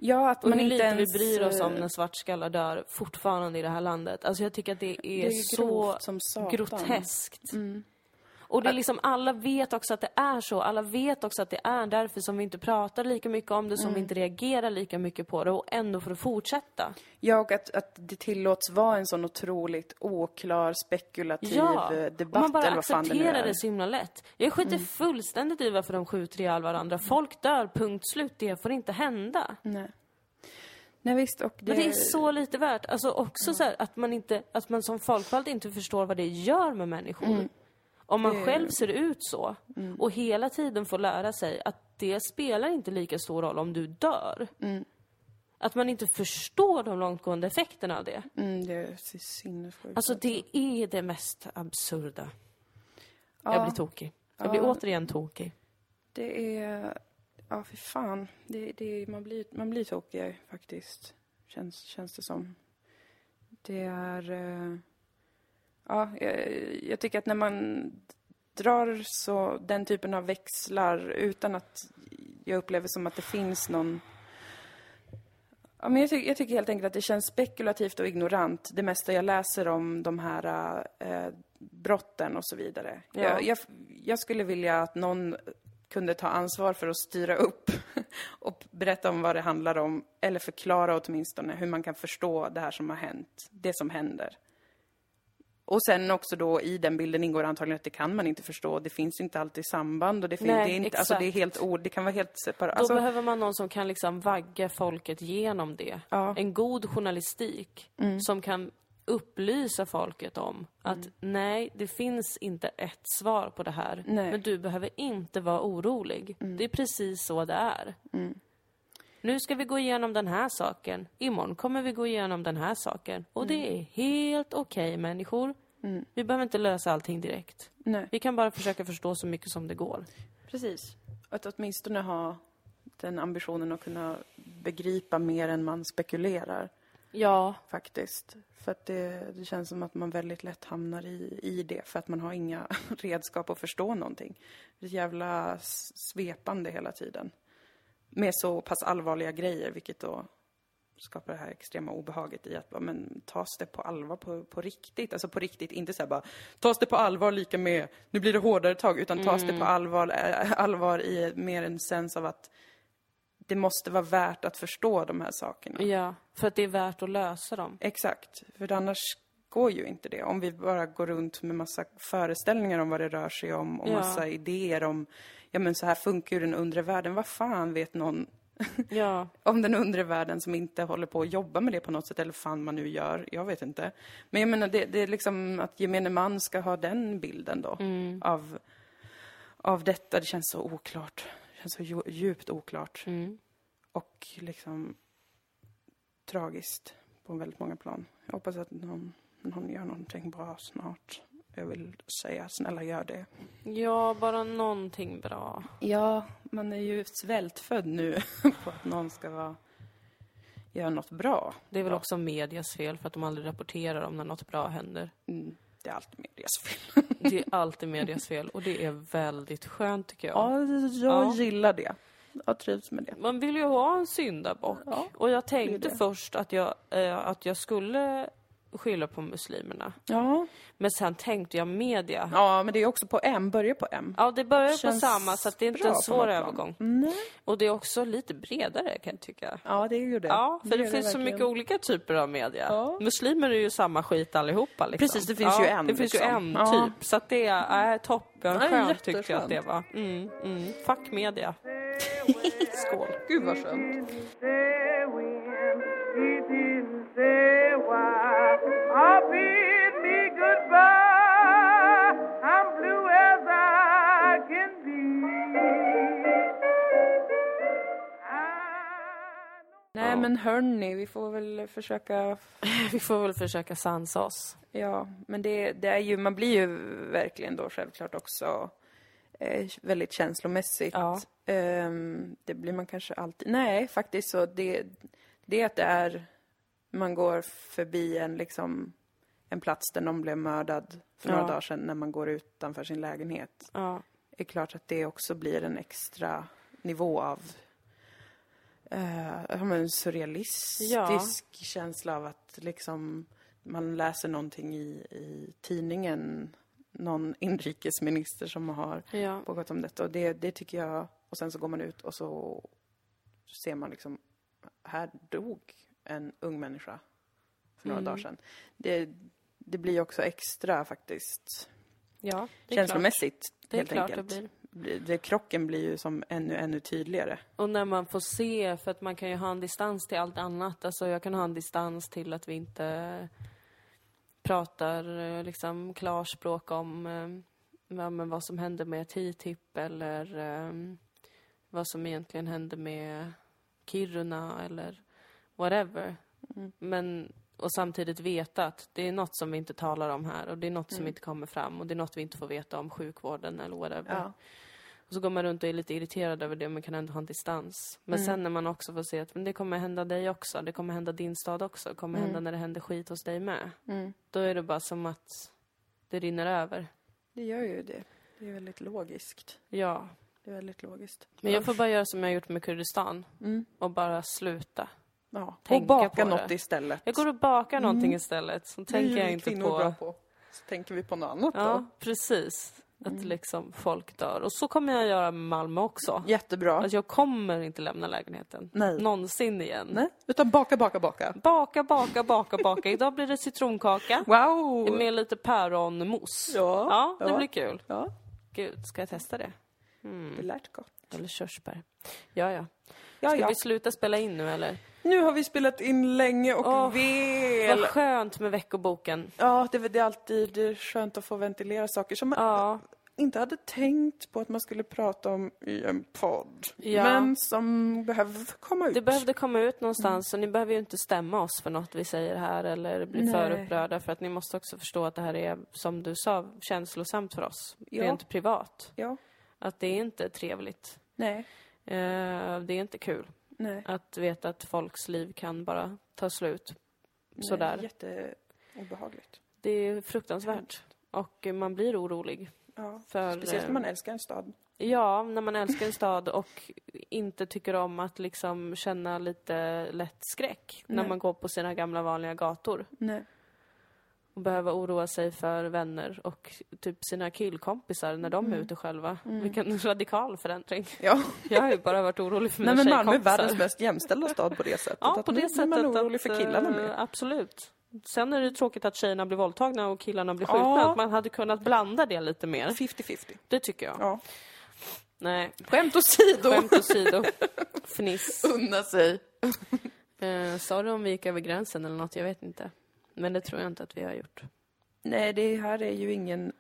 A: Ja, att
B: Och
A: man
B: hur
A: inte
B: lite
A: ens,
B: vi bryr oss om
A: eh,
B: när svartskallar dör fortfarande i det här landet. Alltså jag tycker att det är,
A: är ju
B: så
A: grovt som satan. Mm.
B: groteskt. Och det är liksom, alla vet också att det är så. Alla vet också att det är därför som vi inte pratar lika mycket om det, som
A: Mm.
B: vi inte reagerar lika mycket på det och ändå får det fortsätta.
A: Ja, och att, att det tillåts vara en sån otroligt oklar, spekulativ
B: Ja,
A: eh,
B: och
A: debatt
B: man bara
A: eller vad fan det nu
B: accepterar
A: är. Mm.
B: det så himla lätt. Jag skiter fullständigt i varför de skjuter ihjäl varandra. Folk dör, punkt slut. Det får inte hända.
A: Nej. Nej, visst. Och det,
B: Men det är så lite värt. Alltså också så här, att man inte, att man som folkvald inte förstår vad det gör med människor. Om man själv ser ut så och hela tiden får lära sig att det spelar inte lika stor roll om du dör. Att man inte förstår de långtgående effekterna av det.
A: Mm, det är så sinnessjukt.
B: Alltså det är det mest absurda. Jag blir tokig. Jag blir återigen tokig.
A: Det är... Ja, för fan. Det, det, man, blir, man blir tokig faktiskt, känns, känns det som. Det är... eh, Ja, jag, jag tycker att när man drar så, den typen av växlar utan att jag upplever som att det finns någon... Ja, men jag, ty- jag tycker helt enkelt att det känns spekulativt och ignorant, det mesta jag läser om de här eh, brotten och så vidare.
B: Ja.
A: Jag, jag, jag skulle vilja att någon kunde ta ansvar för att styra upp och berätta om vad det handlar om, eller förklara åtminstone hur man kan förstå det här som har hänt, det som händer. Och sen också då i den bilden ingår antagligen att det kan man inte förstå, det finns inte alltid samband och det, fin-
B: Nej,
A: det, är inte, alltså det är
B: exakt.
A: helt ord, det kan vara helt separat.
B: Då
A: Alltså,
B: behöver man någon som kan liksom vagga folket genom det.
A: Ja. Mm.
B: En god journalistik som kan upplysa folket om att nej, det finns inte ett svar på det här.
A: Nej. Mm.
B: Men du behöver inte vara orolig. Det är precis så det är. Nu ska vi gå igenom den här saken. Imorgon kommer vi gå igenom den här saken. Och
A: Mm.
B: det är helt okej människor. Vi behöver inte lösa allting direkt.
A: Nej.
B: Vi kan bara försöka förstå så mycket som det går.
A: Precis. Att åtminstone ha den ambitionen att kunna begripa mer än man spekulerar
B: Ja,
A: faktiskt. För att det, det känns som att man väldigt lätt hamnar i, i det för att man har inga redskap att förstå någonting. Det är jävla s- svepande hela tiden. Med så pass allvarliga grejer, vilket då skapar det här extrema obehaget i att bara, men tas det på allvar på, på riktigt? Alltså på riktigt, inte så här bara tas det på allvar lika med nu blir det hårdare tag, utan tas det på allvar, eh, allvar i mer en sens av att det måste vara värt att förstå de här sakerna.
B: ja. För att det är värt att lösa dem.
A: Exakt, för annars går ju inte det. Om vi bara går runt med massa föreställningar om vad det rör sig om och
B: Ja.
A: massa idéer om, ja men så här funkar ju den undre världen. Vad fan vet någon
B: Ja.
A: om den undre världen som inte håller på att jobba med det på något sätt, eller fan man nu gör, jag vet inte. Men jag menar, det, det är liksom att gemene man ska ha den bilden då, av, av detta. Det känns så oklart. Det känns så ju- djupt oklart. Och liksom tragiskt på väldigt många plan. Jag hoppas att någon, någon gör någonting bra snart. Jag vill säga, snälla gör det.
B: Ja, bara någonting bra.
A: Ja, man är ju svältfödd nu på att någon ska vara, göra något bra.
B: Det är väl också medias fel för att de aldrig rapporterar om när något bra händer.
A: Mm, det är allt medias fel.
B: Det är alltid medias fel och det är väldigt skönt tycker jag.
A: Ja, jag
B: Ja.
A: gillar det. Jag trivs med det.
B: Man vill ju ha en syndabock.
A: Ja,
B: och jag
A: det
B: tänkte
A: är det.
B: först att jag, eh, att jag skulle skylla på muslimerna.
A: Ja.
B: Men sen tänkte jag media. Ja,
A: Ja, men det är också på M. Börja på M.
B: det börjar på
A: Känns
B: samma så att det är
A: bra
B: inte en
A: på
B: svår
A: något plan.
B: övergång.
A: Nej.
B: Och det är också lite bredare kan jag tycka.
A: Ja, det är ju det.
B: Ja, för det,
A: är
B: finns så
A: verkligen.
B: mycket olika typer av media.
A: Ja.
B: Muslimer är ju samma skit allihopa. Liksom.
A: Precis, det finns
B: ja,
A: ju en,
B: Det finns ju
A: liksom.
B: en
A: Ja.
B: typ. Så att det är äh, toppen.
A: Ja,
B: Skönt tyckte jag
A: jätteskönt.
B: att det var. Mm, mm. Fuck media. Skål.
A: Gud vad skönt.
C: say when, he didn't say why. I bid me goodbye. I'm blue as I can be. I
A: Nej, men hörni, vi får väl försöka...
B: Vi får väl försöka sansa oss.
A: Ja, men det, det är ju, man blir ju verkligen då självklart också eh, väldigt känslomässigt.
B: Ja.
A: Ehm, det blir man kanske alltid. Nej, faktiskt så det, det att det är, man går förbi en liksom, en plats där någon blev mördad för några
B: Ja.
A: dagar sedan när man går utanför sin lägenhet.
B: Ja.
A: Det är klart att det också blir en extra nivå av eh, ja, men surrealistisk
B: Ja.
A: känsla av att liksom man läser någonting i, i tidningen, någon inrikesminister som har
B: Ja.
A: pågått om detta. Och det, det tycker jag... Och sen så går man ut och så ser man liksom... Här dog en ung människa för några dagar sedan. Det, det blir ju också extra faktiskt
B: ja det är
A: känslomässigt
B: klart. Det är
A: helt
B: klart
A: enkelt.
B: det blir.
A: Det, det, krocken blir ju som ännu, ännu tydligare.
B: Och när man får se, för att man kan ju ha en distans till allt annat. Alltså jag kan ha en distans till att vi inte pratar eh, liksom klarspråk om eh, ja, men vad som hände med TTIP eller eh, vad som egentligen hände med Kiruna eller whatever. Men, och samtidigt veta att det är något som vi inte talar om här och det är något som inte kommer fram och det är något vi inte får veta om sjukvården eller whatever.
A: Ja.
B: Och så går man runt och är lite irriterad över det men kan ändå ha en distans.
A: Mm.
B: Men sen när man också får se att men det kommer hända dig också, det kommer hända din stad också, det
A: Mm.
B: kommer hända när det händer skit hos dig med. Då är det bara som att det rinner över.
A: Det gör ju det. Det är väldigt logiskt.
B: Ja.
A: Det är väldigt logiskt.
B: Men jag får bara göra som jag gjort med Kurdistan
A: Mm.
B: och bara sluta.
A: Ja. Och
B: tänka
A: baka
B: på
A: något
B: det.
A: istället.
B: Jag går och bakar någonting istället, så
A: Mm. Det är
B: tänker
A: ju
B: jag
A: vi
B: inte
A: kvinnor bra
B: på.
A: på. Så tänker vi på något annat
B: Ja, precis. Att
A: Mm.
B: liksom folk dör. Och så kommer jag göra med Malmö också.
A: då. Jättebra.
B: Att jag kommer inte lämna lägenheten.
A: Nej.
B: Någonsin igen.
A: Nej, utan baka, baka, baka.
B: Baka, baka, baka, baka. Idag blir det citronkaka
A: Wow!
B: med lite päronmousse.
A: Ja,
B: ja, det
A: ja.
B: blir kul.
A: Ja,
B: Gud, ska jag testa det? Mm.
A: det lät gott.
B: Eller körsbär. Ja, ja.
A: Ja,
B: Ska
A: ja.
B: vi sluta spela in nu eller?
A: Nu har vi spelat in länge och
B: Åh,
A: väl.
B: Vad skönt med veckoboken.
A: Ja, det, är väl- det är alltid skönt att få ventilera saker som man
B: Ja,
A: inte hade tänkt på att man skulle prata om i en podd.
B: Ja.
A: Men som behöver komma ut.
B: det behövde komma ut någonstans och ni behöver ju inte stämma oss för något vi säger här eller bli
A: Nej.
B: för upprörda för att ni måste också förstå att det här är, som du sa, känslosamt för oss.
A: Ja.
B: Rent privat.
A: Ja.
B: Att det är inte trevligt.
A: Nej.
B: Eh, det är inte kul
A: Nej.
B: att veta att folks liv kan bara ta slut
A: Nej,
B: sådär.
A: Jätteobehagligt.
B: Det är fruktansvärt. Och eh, man blir orolig.
A: Ja.
B: För,
A: Speciellt när
B: eh,
A: man älskar en stad.
B: Ja, när man älskar en stad och inte tycker om att liksom känna lite lätt skräck när
A: Nej.
B: man går på sina gamla vanliga gator
A: Nej.
B: och behöver oroa sig för vänner och typ sina killkompisar när de är ute själva. Vilken radikal förändring.
A: Ja.
B: Mm. Jag har ju bara varit orolig för mina
A: Nej men Malmö är
B: tjejkompisar.
A: världens mest jämställda stad på det sättet.
B: Ja, på
A: att nu
B: det
A: är
B: sättet
A: man orolig
B: att,
A: för killarna med.
B: eh, Absolut. Sen är det tråkigt att tjejerna blir våldtagna och killarna blir
A: Ja.
B: skjutna. Att man hade kunnat blanda det lite mer.
A: 50-50.
B: Det tycker jag.
A: Ja.
B: Nej,
A: Skämt åsido!
B: skämt åsido. Fniss.
A: Unna sig.
B: Eh, sa du om vi gick över gränsen eller något? Jag vet inte. Men det tror jag inte att vi har gjort.
A: Nej, det här är ju ingen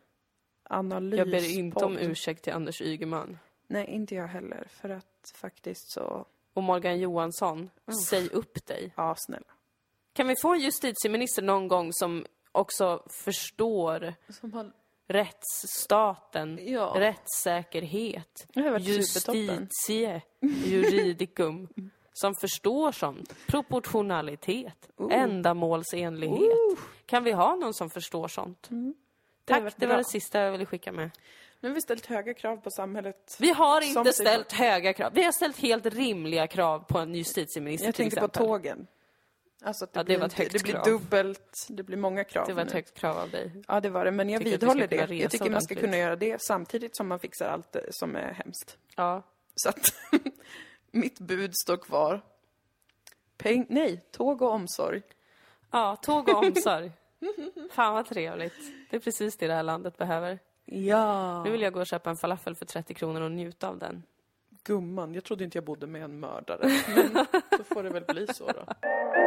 A: analys.
B: Jag ber inte om ursäkt till Anders Ygeman.
A: Nej, inte jag heller. För att faktiskt så...
B: Och Morgan Johansson, säg upp dig.
A: Ja, snälla.
B: Mm. Kan vi få en justitieminister någon gång som också förstår
A: Som har...
B: rättsstaten,
A: Ja.
B: rättssäkerhet,
A: Det har varit supertoppen.
B: justitie, juridicum. Som förstår sånt. Proportionalitet, ändamålsenlighet. Kan vi ha någon som förstår sånt?
A: Det hade
B: Tack,
A: varit
B: Mm. det var
A: bra.
B: det sista jag ville skicka med.
A: Nu har vi ställt höga krav på samhället.
B: Vi har
A: Som
B: inte
A: sig-
B: ställt höga krav. Vi har ställt helt rimliga krav på en justitieminister
A: Jag
B: till
A: tänker på
B: exempel.
A: tågen. Alltså att det,
B: Ja, det
A: blir,
B: var ett
A: inte-
B: högt
A: det blir
B: krav.
A: dubbelt, det blir många krav.
B: Det var ett
A: nu.
B: högt krav av dig.
A: Ja, det var det. Men jag
B: Tycker att vi
A: vidhåller
B: ska kunna
A: det. Jag
B: resa
A: tycker man ska
B: ordentligt.
A: kunna göra det samtidigt som man fixar allt eh, som är hemskt.
B: Ja.
A: Så att mitt bud står kvar. Peng, nej, tåg och omsorg.
B: ja, tåg och omsorg. Fan vad trevligt. Det är precis det det här landet behöver.
A: Ja.
B: Nu vill jag gå och köpa en falafel för 30 kronor och njuta av den.
A: Gumman, jag trodde inte jag bodde med en mördare. Men då får det väl bli så då.
C: Ooh,